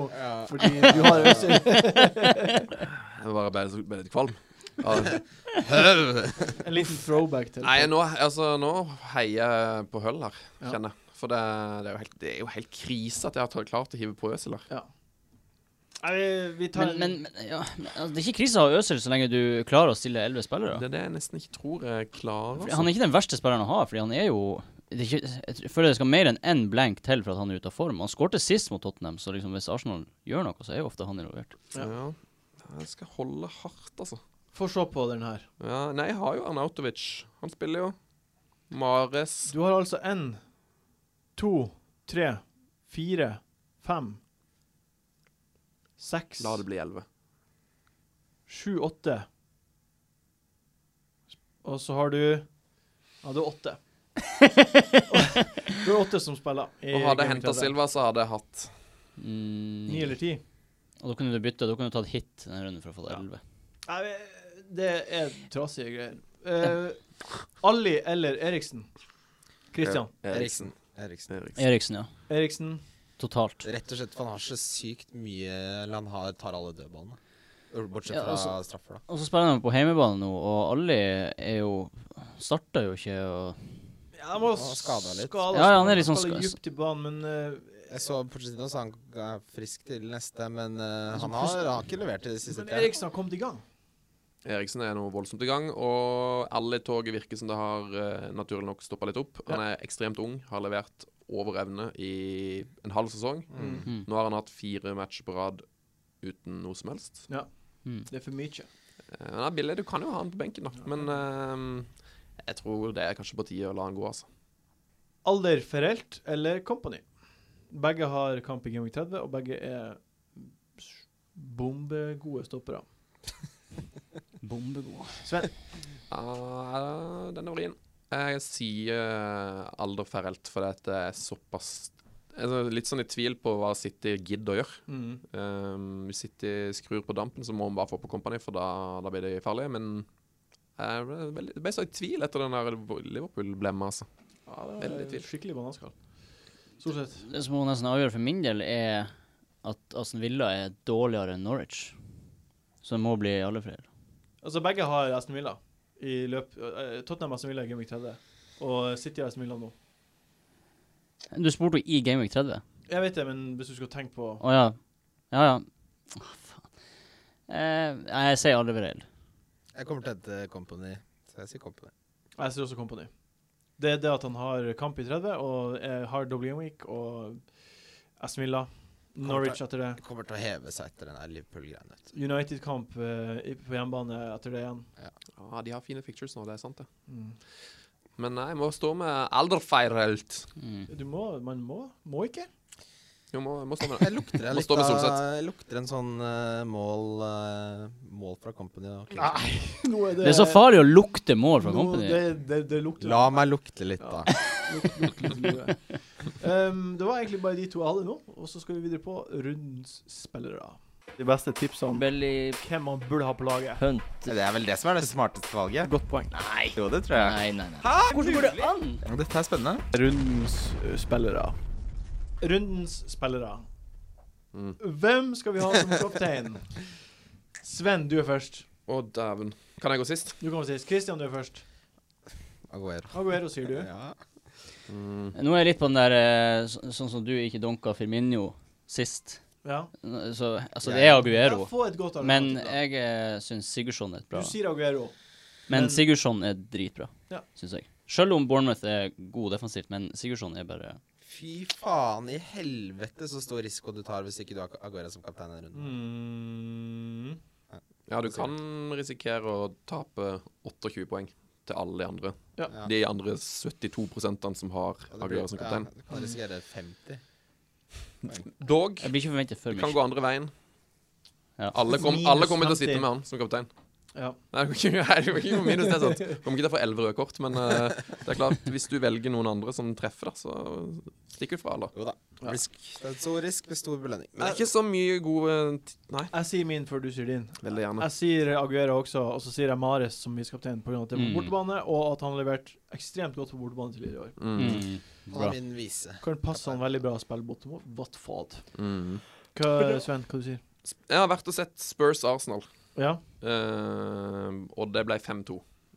S1: fordi du har Øsil.
S5: Jeg bare ble, så- ble litt kvalm. Ja.
S1: En liten throwback til
S5: Nei, nå, altså, nå heier jeg på høll her,
S1: Ja.
S5: kjenner jeg. For det, det, er jo helt, det er jo helt krise at jeg har klart å hive på Øsil her.
S1: Ja. Nei, vi- vi tar
S2: Men, men, men, ja, men altså, det er ikke krise å ha Øzil så lenge du klarer å stille elleve spillere.
S5: Det er det jeg nesten ikke tror jeg klarer. altså.
S2: Fordi Han er ikke den verste spilleren å ha, fordi han er jo det er ikke, jeg føler det skal mer enn én blank til for at han er ute av form. Han skårte sist mot Tottenham, så liksom hvis Arsenal gjør noe, så er jo ofte han involvert.
S1: Ja.
S5: Ja. Jeg skal holde hardt, altså.
S1: Få se på den her.
S5: Ja, nei, jeg har jo Arnautovic. Han spiller jo. Mares
S1: Du har altså én, to, tre, fire, fem, seks,
S5: La det bli elleve.
S1: sju, åtte. Og så har du Ja, du har åtte. du har åtte som spiller. i
S5: Og hadde jeg
S1: Game
S5: henta
S1: 30.
S5: Silva, så hadde jeg hatt
S2: Mm.
S1: Ni eller ti?
S2: Og da kunne du bytte, da kunne du tatt hit denne runden for å få det 11.
S1: Nei, men det er trasige greier. Eh, Ali eller Eriksen? Christian.
S5: Eriksen.
S4: Eriksen.
S5: Eriksen.
S2: Eriksen, ja.
S1: Eriksen.
S2: Totalt.
S4: Rett og slett, for han har så sykt mye eller Han har, tar alle dødballene. Bortsett
S2: Ja,
S4: fra
S2: altså-
S4: straffer, da.
S2: Og så spiller han på hjemmebane nå, og alle er jo Starta jo ikke og
S1: Ja, han var
S4: Han var skadet litt.
S1: skadet,
S2: Ja, ja, han er litt sånn
S1: skadet
S2: sk-
S1: djupt i banen, men eh,
S4: Jeg så Pochettino sa sånn, han er frisk til neste, men eh,
S1: Altså,
S4: han, har, han har ikke levert i de siste
S1: Men
S4: tre.
S1: Eriksen har kommet i gang.
S5: Eriksen er nå voldsomt i gang, og alle i toget virker som det har eh, naturlig nok stoppa litt opp. Han er ekstremt ung, har levert over evne i en halv sesong.
S4: Mm.
S2: mm.
S5: Nå har han hatt fire matcher på rad uten noe som helst.
S2: Mm.
S1: Det er for mye.
S5: Eh, Han er billig, du kan jo ha han på benken, da. Men eh, jeg tror det er kanskje på tide å la han gå, altså.
S1: Alder Ferrelt eller Company? Begge har kamp i Gaming 30, og begge er s- bombegode stoppere.
S2: Bombegod.
S1: Sven,
S5: Ja, den er vrien. Jeg sier eh, alder Ferrelt, for det er såpass jeg er litt sånn i tvil på hva City gidder å gjøre.
S1: mm.
S5: Um, hvis City skrur på dampen, så må vi bare få på Company, for da, da blir de farlige. Men jeg ble, veldig- jeg ble så i tvil etter den der Liverpool-blemma, altså.
S1: ja, det
S5: Veldig
S1: er
S5: tvil.
S1: skikkelig bananskall. Stort sett.
S2: Det som må nesten avgjøre for min del, er at Aston Villa er dårligere enn Norwich. Så det må bli alle flere.
S1: Altså, begge har Aston Villa i løp eh, Tottenham har Aston Villa i Gaming 30, og City har Aston Villa nå.
S2: Du spurte jo i Game Week 30.
S1: Jeg vet det, men hvis du skal tenke på
S2: Å ja. Ja ja. Å, faen. Eh, nei, jeg sier Alderweireld.
S4: Jeg kommer til å hente Company. Så jeg sier Company.
S1: Jeg ser også Company. Det er det at han har kamp i 30, og eh, har double game week, og Aston Villa, Norwich etter det.
S4: Jeg kommer til å heve seg etter den der Liverpool-greia. vet du.
S1: United-kamp eh, i- på hjemmebane etter det igjen.
S5: Ja, de har fine pictures nå, det er sant, det.
S1: Mm.
S5: Men nei, jeg må stå med alder Ferrelt.
S2: Mm.
S1: Du må, man må, må ikke.
S5: Jeg må, jeg må stå med det.
S4: Jeg lukter, en
S5: Må
S4: litt
S5: stå med
S4: av,
S5: Solseth.
S4: jeg lukter en sånn eh, mål, eh, mål fra Company. og-
S1: Nå er
S2: Det er så farlig å lukte mål fra
S1: nå- Det,
S2: Company.
S1: det, det lukter
S4: La meg lukte litt,
S1: Ja.
S4: da.
S1: Lukter- lukter litt lue. Ehm, det var egentlig bare de to jeg hadde nå, og så skal vi videre på rundens spillere. De beste tipsene om
S2: Belly
S1: hvem man burde ha på laget.
S2: Hunt.
S4: Det er vel det som er det smarteste valget.
S1: Godt poeng.
S4: Nei. Jo, det tror jeg.
S2: Nei, nei, nei. Hvordan går det an?
S4: Dette er spennende.
S1: Rundens eh, spillere. Rundens spillere.
S5: Mm.
S1: Hvem skal vi ha som kaptein? Sven, du er først.
S5: Å, dæven. Kan jeg gå sist?
S1: Du kommer sist. Christian, du er først.
S4: Aguero.
S1: Aguero, sier du.
S4: Ja.
S5: Mm.
S2: Nå er jeg litt på den der eh, så, Sånn som du ikke donka Firmino sist.
S1: Ja.
S2: Nå- Så, altså,
S4: Jeg-
S2: det er Aguero.
S1: Ja, få et godt
S2: Men
S1: alternativ, da.
S2: jeg eh, syns Sigurdsson er et bra
S1: Du sier Aguero. men-
S2: Men Sigurdsson er dritbra,
S1: Ja.
S2: syns jeg. Selv om Bournemouth er god defensivt, men Sigurdsson er bare
S4: Fy faen i helvete så stor risiko du tar hvis ikke du har Aguero som kaptein denne runden.
S1: Mm.
S5: Ja, du kan risikere å tape 28 poeng til alle de andre.
S4: Ja.
S5: De andre 72 som har
S4: Ja, det blir-
S5: Aguero som kaptein.
S4: Ja, du kan risikere 50.
S5: Dog,
S2: Jeg blir ikke forventet for
S5: det kan
S2: mye.
S5: gå andre veien.
S2: Ja.
S5: Alle, kom,
S1: Minus
S5: alle kommer til å
S1: 50.
S5: sitte med han som kaptein.
S1: Ja.
S5: Nei, det kommer ikke, det går ikke på minus, det er sant. Kommer ikke til å få elleve røde kort, men eh, det er klart, hvis du velger noen andre som treffer, da, så stikker du fra, da.
S4: Jo da.
S1: Ja.
S4: Risk. Det er et stor risk med stor belønning.
S5: Men det er ikke så mye gode eh, t- Nei,
S1: Jeg sier min før du sier din.
S5: veldig gjerne.
S1: Jeg sier Aguero også, og så sier jeg Mares som visekaptein pga. at det er på
S2: Mm.
S1: bortebane, og at han har levert ekstremt godt på bortebane tidligere i år.
S5: Mm.
S2: Mm.
S4: Han
S2: Bra.
S4: er min vise.
S1: Kan passe han veldig bra å spille bortimot. What fad?
S5: Mm.
S1: Hva, Sven, hva du sier
S5: Sp- Jeg har vært og sett Spurs Arsenal,
S1: Ja?
S5: eh, og det ble 5-2.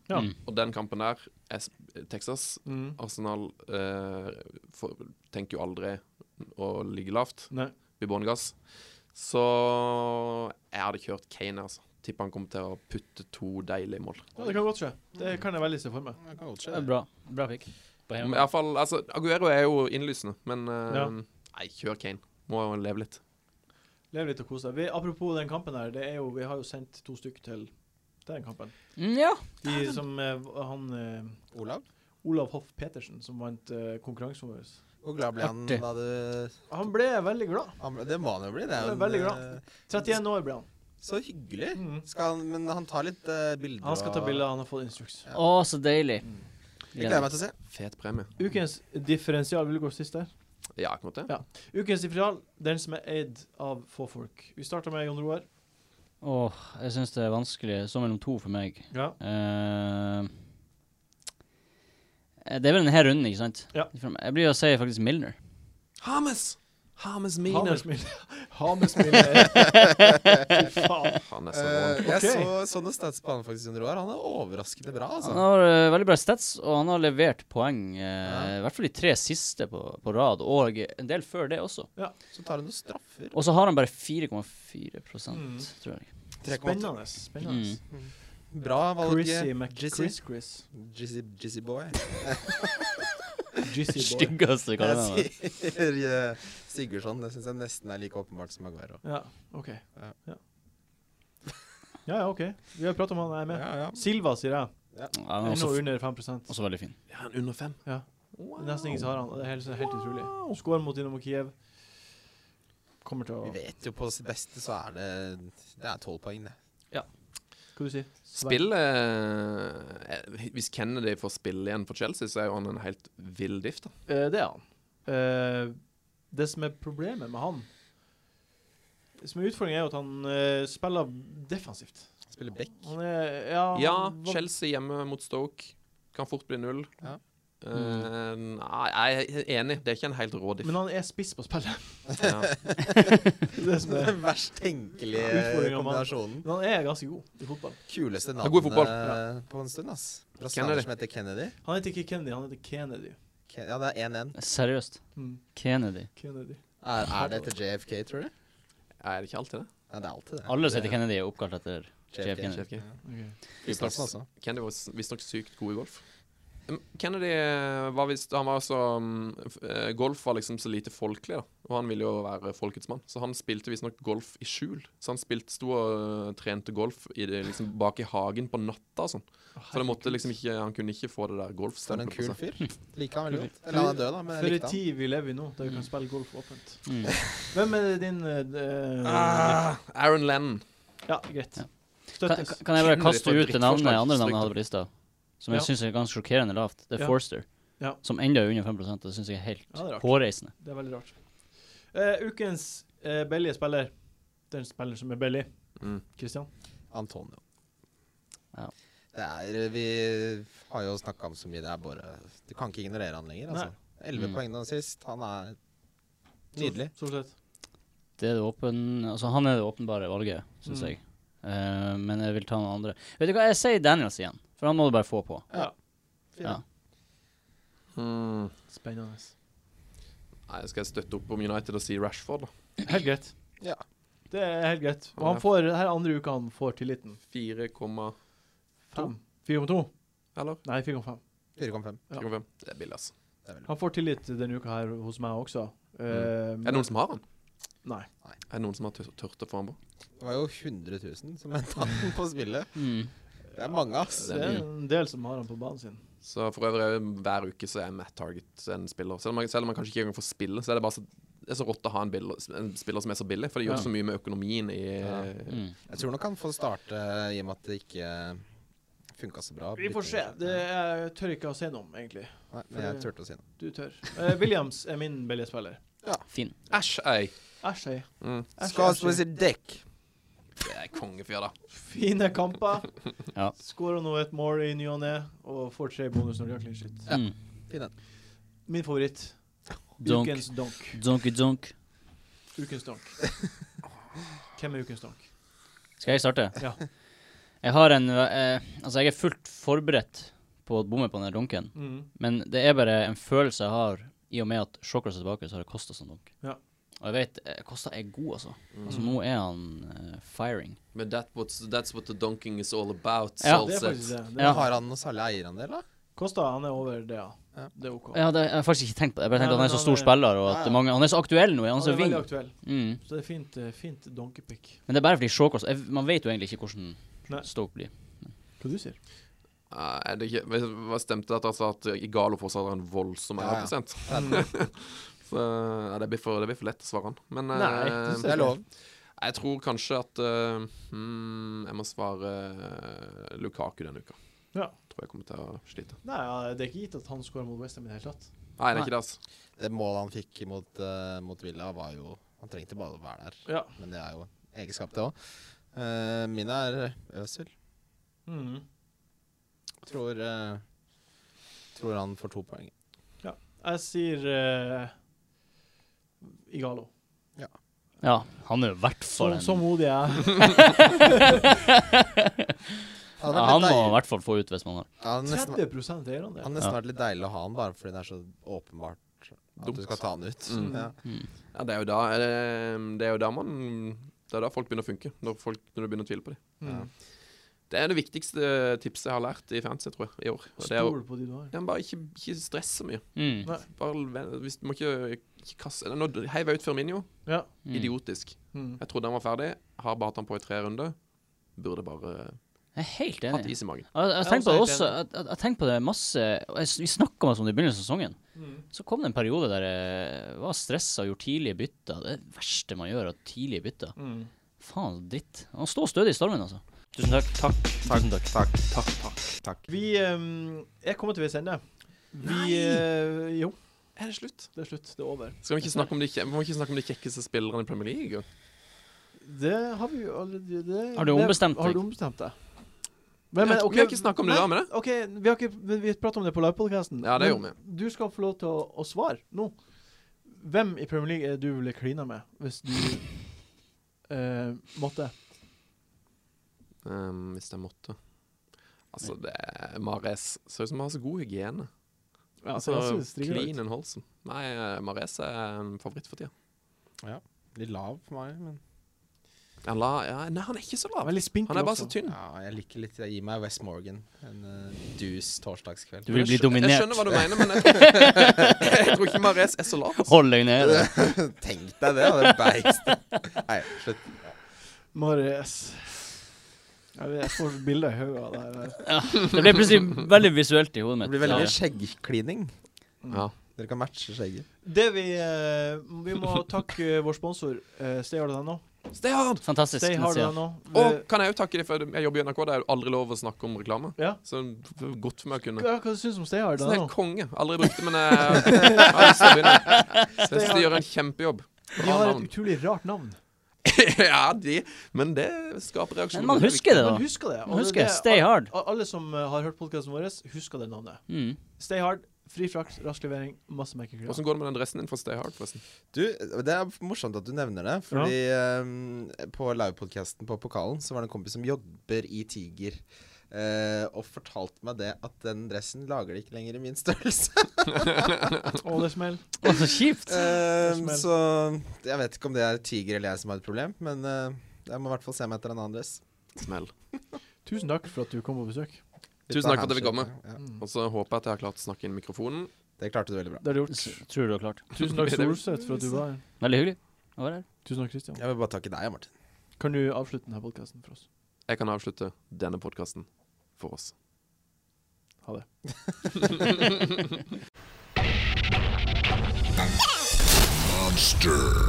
S1: Ja.
S2: Mm.
S5: Og den kampen der, er s- Texas
S1: Mm.
S5: Arsenal eh, for, tenker jo aldri å ligge lavt.
S1: Nei.
S5: i bånn gass. Så jeg hadde kjørt Kane, altså. tipper han kommer til å putte to deilige mål.
S1: Ja, det kan godt skje. Det kan jeg veldig se for meg.
S4: Det kan godt
S2: Det er
S4: skje.
S2: bra. Bra pick. På
S5: Men i
S2: hjemmebane.
S5: hvert fall, altså, Aguero er jo innlysende, men eh,
S1: Ja.
S5: Nei, kjør Kane. Må jo leve litt.
S1: Lev litt og kos deg. Vi- Apropos den kampen her, det er jo, vi har jo sendt to stykker til den kampen.
S2: Mm, ja.
S1: De som eh, han eh,
S4: Olav,
S1: Olav Hoff Petersen, som vant eh, konkurransen vår.
S4: hvor glad ble han
S2: Artig.
S4: da du
S1: Han ble veldig glad.
S4: han ble, Det må han jo bli. Det er jo
S1: Jeg er veldig
S4: en,
S1: glad.
S4: eh,
S1: 31 år ble han.
S4: Så hyggelig.
S1: Mhm.
S4: Skal han, men han tar litt eh, bilder
S1: Han skal ta
S4: og-
S1: bilder, han har fått instruks.
S2: Å, så deilig.
S4: Mm. Jeg gleder meg til å se.
S5: Fet premie.
S1: Ukens differensial, vil du gå sist der?
S5: Ja, på en måte.
S1: Ja. Ukens differensial, den som er eid av få folk. Vi starter med Jon Roar.
S2: Åh, jeg syns det er vanskelig. Så mellom to for meg.
S1: Ja.
S2: Eh, det er vel denne runden, ikke sant?
S1: Ja.
S2: Jeg blir å si faktisk Milner.
S5: Hames! Hames Miner.
S1: Hamesmil. Hamesmil er Fy faen.
S5: Han er så
S4: Eh,
S5: bra.
S4: Jeg
S1: Ok.
S4: så sånne stats på han faktisk under år. Han er overraskende bra, altså.
S2: Han har eh, veldig bra stats, og han har levert poeng, eh, i hvert fall de tre siste på, på rad, og en del før det også.
S4: Så tar han noen straffer.
S2: Og så har han bare 4,4
S1: Mm.
S2: tror jeg.
S4: 3,8.
S1: Spennende. spennende.
S4: Bra valg. eh,
S1: Chrissy
S4: Jizzy.
S1: McChris Chris.
S4: Jizzy Jizzy boy.
S1: Jizzy boy.
S2: Styggeste
S4: Jeg
S2: kallenavnet.
S4: sier eh, Sigurdsson. Det syns jeg nesten er like åpenbart som Aguero.
S1: Ja, OK.
S4: Ja.
S1: Ja. ja ja, OK. Vi har pratet om han jeg er med.
S4: Ja, ja.
S1: Silva, sier jeg.
S2: Ja, han er
S1: Ennå
S2: også,
S1: under 5 Det
S2: også veldig fin.
S5: Ja, han er under fem.
S1: Ja.
S5: Wow.
S1: er Nesten ingen som har han. og Det er helt, helt utrolig. Skår mot Dinamo Kiev. Kommer til å
S4: Vi vet jo på sitt beste så er det Det er tolv poeng, det.
S1: Hva du sier du?
S5: Spill eh, Hvis Kennedy får spille igjen for Chelsea, så er jo han en helt vill diff, da.
S1: det er han. Eh, det som er problemet med han Det som er utfordringen, er jo at han eh, spiller defensivt.
S4: Spiller back.
S1: Han er Ja,
S5: Ja,
S1: han var-
S5: Chelsea hjemme mot Stoke. Kan fort bli null.
S4: Ja.
S5: Eh, nei, jeg er enig. Det er ikke en helt rå diff.
S1: Mm. men han er spiss på spillet.
S5: Ja.
S1: Det er det som er.
S4: Den verst tenkelige
S1: Utfordringen, mann.
S4: kombinasjonen.
S1: Men han er ganske god i fotball.
S4: Kuleste
S5: er god i
S4: navnet
S5: fotball.
S4: eh, på en stund, ass.
S5: Kennedy.
S4: Brasilianer som heter Kennedy.
S1: Han heter ikke Kennedy, han heter Kennedy.
S4: Ken- Ja, det er 1-1.
S2: Seriøst.
S1: Mm,
S2: Kennedy.
S1: Kennedy.
S4: Er, er det etter JFK, tror du?
S5: Er det ikke alltid det?
S4: Ja, det er alltid det.
S2: Alle som heter Kennedy, er oppkalt etter JFK.
S4: JFK.
S5: Vet ikke.
S1: Ok.
S4: Flyplassen altså. også.
S5: Kennedy var s- visstnok sykt god i golf. Um, Kennedy eh, var visst Han var så um, f- eh, Golf var liksom så lite folkelig, da. Og han ville jo være folkets mann. Så han spilte visstnok golf i skjul. Så han spilte, sto og eh, trente golf i det, liksom, bak i hagen på natta og sånn. Så det måtte liksom ikke Han kunne ikke få det der
S4: Så er det en
S5: golfstempelet på
S4: kul
S5: seg.
S4: fyr. altså. Liker han veldig godt. Eller han er død, da, men jeg
S1: For en
S4: likte han.
S1: tid vi lever i nå, der vi kan spille golf åpent.
S2: Mm.
S1: Hvem er din eh, d-
S4: Mm.
S1: eh,
S5: Ah, Aaron Lennon.
S1: Ja, greit.
S2: Ja. Kan,
S1: Støttes.
S2: kan- kan jeg bare
S5: Kennedy
S2: kaste
S5: for et
S2: ut det navnet,
S5: drittforslag.
S2: andre
S5: Stryk
S2: navnet jeg
S5: det.
S2: hadde på lista, som jeg
S1: Ja.
S2: synes er ganske sjokkerende lavt? Det er
S1: Ja.
S2: Forster,
S1: Ja.
S2: som enda er under 5 og det synes jeg er helt
S1: Ja, det er rart.
S2: hårreisende.
S1: Det er veldig rart. Eh, ukens uh, billige spiller. Den spilleren som er billig.
S5: Mm.
S1: Christian.
S4: Antonio.
S2: Ja.
S4: Det er, vi har jo snakka om så mye. Det er bare Du kan ikke ignorere han lenger.
S1: Nei.
S4: altså. Elleve
S2: Mm.
S4: poeng nå sist. Han er nydelig.
S1: Så, så sett.
S2: Det er det åpen, altså han er det åpenbare valget, synes
S1: Mm.
S2: jeg. Eh, men jeg vil ta noen andre. Vet du hva, jeg sier Daniels igjen, for han må du bare få på.
S1: Ja.
S2: Ja.
S5: Mm.
S1: Spennende.
S5: Nei, skal jeg støtte opp om United og si Rashford, da?
S1: Helt greit.
S4: Ja.
S1: Det er helt greit. Og
S5: Han
S1: han
S5: er-
S1: får, det her er andre uka han får tilliten.
S5: 4, komma-
S1: Fem. 4,2?
S5: eller?
S1: Nei, 4,5.
S4: 4,5.
S1: Ja.
S5: 4,5. Det er billig, altså.
S1: Han får tillit denne uka her hos meg også. Eh,
S5: Er det noen som har han?
S1: Nei.
S5: Er det noen som har tør- tørt å få han på?
S4: Det var jo 100 000 som henta han på spillet.
S2: Mm.
S4: Det er mange, ass.
S1: Det er en del som har han på banen sin.
S5: Så for øvrig, hver uke så er Matt Target en spiller. Selv om, han- selv om han kanskje ikke engang får spille, så er det bare så, det er så rått å ha en, bill- en spiller som er så billig. For det gjør
S1: Ja.
S5: så mye med økonomien i eh,
S2: Mm.
S4: Jeg tror nok han får starte i og med at det ikke funka så bra.
S1: Vi får se. Det er, jeg tør ikke å si noe om, egentlig.
S4: Nei, men jeg turte å si noe.
S1: Du tør. Eh, Williams er min billige spiller.
S2: Fin.
S5: Æsj, ei!
S1: Æsj, ei.
S5: Mm.
S1: Æsj, æsj,
S4: Skal
S1: ei.
S4: spise dekk.
S5: Det er kongefyr, da.
S1: Fine kamper.
S2: Ja.
S1: Skårer nå et mål i ny og ne, og får tre bonus når de har clean shit.
S2: Mm.
S4: Fin den.
S1: Min favoritt.
S2: Donk.
S1: Ukens donk.
S2: Donky donk.
S1: Ukens donk. Hvem er ukens donk?
S2: Skal jeg starte?
S1: Ja.
S2: Jeg har en eh, Altså, jeg er fullt forberedt på å bomme på den der dunken,
S1: Mm.
S2: men det er bare en følelse jeg har i og med at Shockers er tilbake, så har det kosta sånn dunk.
S1: Ja. Mm.
S2: Og jeg vet, eh, Kosta er god, altså.
S5: Mm.
S2: Altså Nå er han eh, firing.
S3: Men that what's, that's what the donking is all about.
S2: Ja.
S3: Saul
S1: Det er
S3: said.
S1: faktisk det. det
S2: Ja.
S4: Har han noe særlig eierandel, da?
S1: Kosta han er over det, ja.
S4: Ja.
S1: Det er OK.
S2: Jeg hadde, jeg hadde faktisk ikke tenkt på det. Jeg bare tenkte
S1: Nei,
S2: at han er
S1: men
S2: så
S1: han
S2: stor
S1: er-
S2: spiller, og
S4: Ja,
S2: at
S4: ja.
S2: mange, han er så aktuell nå. Han er
S1: Han
S2: så
S1: er veldig
S2: ving.
S1: aktuell.
S2: Mm.
S1: Så det er fint, eh, fint donkepick.
S2: Men det er bare fordi Shawcross jeg- Man vet jo egentlig ikke hvordan
S1: Nei.
S2: Stoke blir.
S1: Hva du sier
S5: Nei, er det ikke, vet du hva stemte det at, altså, at Igalo fortsatt har en voldsom
S4: Ja, ja.
S5: eierprosent?
S1: Mm.
S4: Det
S5: Så ja, det, blir for, det blir for lett å svare han. Men
S1: Nei,
S5: eh,
S1: det
S4: er lov.
S5: jeg tror kanskje at eh, hmm, Jeg må svare eh, Lukaku denne uka.
S1: Ja.
S5: Tror jeg kommer til å slite.
S1: Nei, ja, det er ikke gitt at han scorer mot Westham i det hele tatt.
S5: Nei, det
S2: Nei.
S5: er ikke det, altså.
S4: Det målet han fikk mot, eh, mot Villa, var jo Han trengte bare å være der.
S1: Ja.
S4: Men det er jo egenskap, det òg. mine er Øzil.
S1: Mhm.
S4: Tror, eh, tror han får to poeng.
S1: Jeg sier eh, Igalo.
S2: Ja, han er jo i hvert
S1: Så,
S2: fall en
S1: så modig jeg er.
S4: Han
S2: ja,
S4: er,
S2: Han må
S4: litt
S2: i
S4: deilig-
S2: hvert fall få ut hvis man har
S4: Ja, han er nesten,
S1: 30 eier han det.
S4: han er nesten vært litt deilig å ha han, bare fordi det er så åpenbart at
S5: Dumt.
S4: du skal ta han ut.
S5: Mm.
S4: Ja.
S5: Ja, det er jo da er det, det er jo da man Det er da folk begynner å funke. Når, folk, når du begynner å tvile på dem.
S1: Mm.
S5: Det er det viktigste eh, tipset jeg har lært i fantasy, tror jeg, i år. Og Det er,
S1: Stol
S5: å-
S1: på de du har.
S5: ja, men bare ikke, ikke stress så mye.
S2: mm.
S1: Nei.
S5: Bare, vel- hvis du må ikke, ikke kaste Nå heiv jeg ut Firminio.
S1: Ja.
S2: Mm.
S5: Idiotisk.
S1: Mm.
S5: Jeg trodde han var ferdig. Har bare hatt han på i tre runder. Burde bare
S2: Jeg er helt
S5: hatt
S2: enig.
S5: is i magen.
S2: Jeg, jeg,
S1: er
S2: tenkte på det
S1: også
S2: også,
S1: helt
S2: jeg, jeg, jeg tenkte på det masse og jeg, s- Vi snakka om det som det i begynnelsen av sesongen. Så kom det en periode der jeg var stressa og gjorde tidlige bytter. Det er det verste man gjør, er tidlige bytter.
S1: Mm.
S2: Faen, dritt. Han står stødig i stormen, altså. Tusen takk. Takk. Tusen takk.
S1: Vi um, er kommet til veis ende. Vi eh, Jo,
S5: Er det slutt?
S1: det er slutt. Det er over.
S5: Skal vi ikke snakke om de, kje- vi må ikke snakke om de kjekkeste spillerne i Premier League?
S1: Det har vi jo allerede det-
S2: Har du ombestemt
S1: det- Har
S2: deg?
S1: du ombestemt deg?
S5: Vi har ikke- vi har ikke snakket om
S1: nei,
S5: det da, men det.
S1: OK, vi har ikke men vi pratet om det på livepodkasten.
S5: Ja, det
S1: Men
S5: gjorde
S1: Du skal få lov til å, å svare nå. Hvem i Premier League er det du ville klina med hvis du eh, måtte?
S5: Ehm, hvis jeg måtte. Altså, det er Mares ser ut som han har så god hygiene.
S1: Ja,
S5: altså,
S1: jeg synes det er greit.
S5: clean and wholesome. Nei, eh, Mares er en favoritt for tida.
S4: Litt lav for meg, men
S5: Han la, ja, nei, han er ikke så lav.
S1: Veldig spinkel
S5: Han er bare
S1: også.
S5: så tynn.
S4: ja, jeg liker litt Gi meg West Morgan en eh, dus torsdagskveld.
S2: Du vil bli
S5: Jeg skjø- Jeg
S2: dominert.
S5: skjønner hva du mener, men jeg tror, jeg tror ikke Mares er så lav. altså.
S2: Hold deg nede.
S4: Tenk deg det, det er beist. Nei, slutt.
S1: Marius. Jeg, vet, jeg får bilder i hodet av deg. der.
S2: Det ble plutselig veldig visuelt i hodet
S4: Det
S2: mitt.
S4: blir veldig
S2: Ja.
S4: mye skjeggklining.
S5: Ja.
S4: Dere kan matche skjegget.
S1: Det vi eh, Vi må takke vår sponsor, uh, stayhard.no.
S5: Stay hard!
S2: Fantastisk. nettside.
S1: Stayhard.no.
S5: Og kan jeg jo takke deg for jeg jobber i NRK, det er jo aldri lov å snakke om reklame.
S1: Ja.
S5: Så det er godt for meg å kunne.
S1: Hva, hva syns du om
S2: Sånn
S5: Så det Sånn er
S1: stayhard.no?
S5: konge. Aldri brukt det, men jeg jeg har lyst til å begynne. Så jeg synes de gjør en kjempejobb.
S1: De har et utrolig rart navn.
S5: ja, de, men det skaper reaksjoner.
S2: Men man husker det, da.
S1: Men husker det.
S2: Man
S1: og
S2: husker
S1: det-
S2: Stay Hard.
S1: a- Alle som eh, har hørt podkasten vår, husker det navnet.
S2: Mm.
S1: Stay Hard, fri frakt, rask levering, masse merkeklær.
S5: Åssen går det med den dressen din for Stay Hard, forresten?
S4: Du, Det er morsomt at du nevner det. Fordi eh, på livepodkasten på Pokalen så var det en kompis som jobber i Tiger. eh, og fortalte meg det at den dressen lager de ikke lenger i min størrelse.
S1: Å, det smeller.
S2: Å, så kjipt.
S4: Eh,
S1: smell.
S4: så jeg vet ikke om det er Tiger eller jeg som har et problem, men eh, jeg må i hvert fall se meg etter en annen dress.
S5: Smell.
S1: Tusen takk for at du kom på besøk. Mm.
S5: Tusen takk for at jeg fikk komme.
S4: Ja,
S5: Og så håper jeg at jeg har klart å snakke inn i mikrofonen.
S4: det klarte du veldig bra.
S1: Det har du gjort.
S2: S- Tror du du har klart.
S1: Tusen takk, Solseth, for at du var her.
S2: Veldig hyggelig å være her.
S1: Tusen takk, Kristian.
S4: Jeg vil bare takke deg, Martin.
S1: Kan du avslutte denne podkasten for oss?
S5: Jeg kan avslutte denne podkasten for oss.
S1: Ha det.
S6: Monster.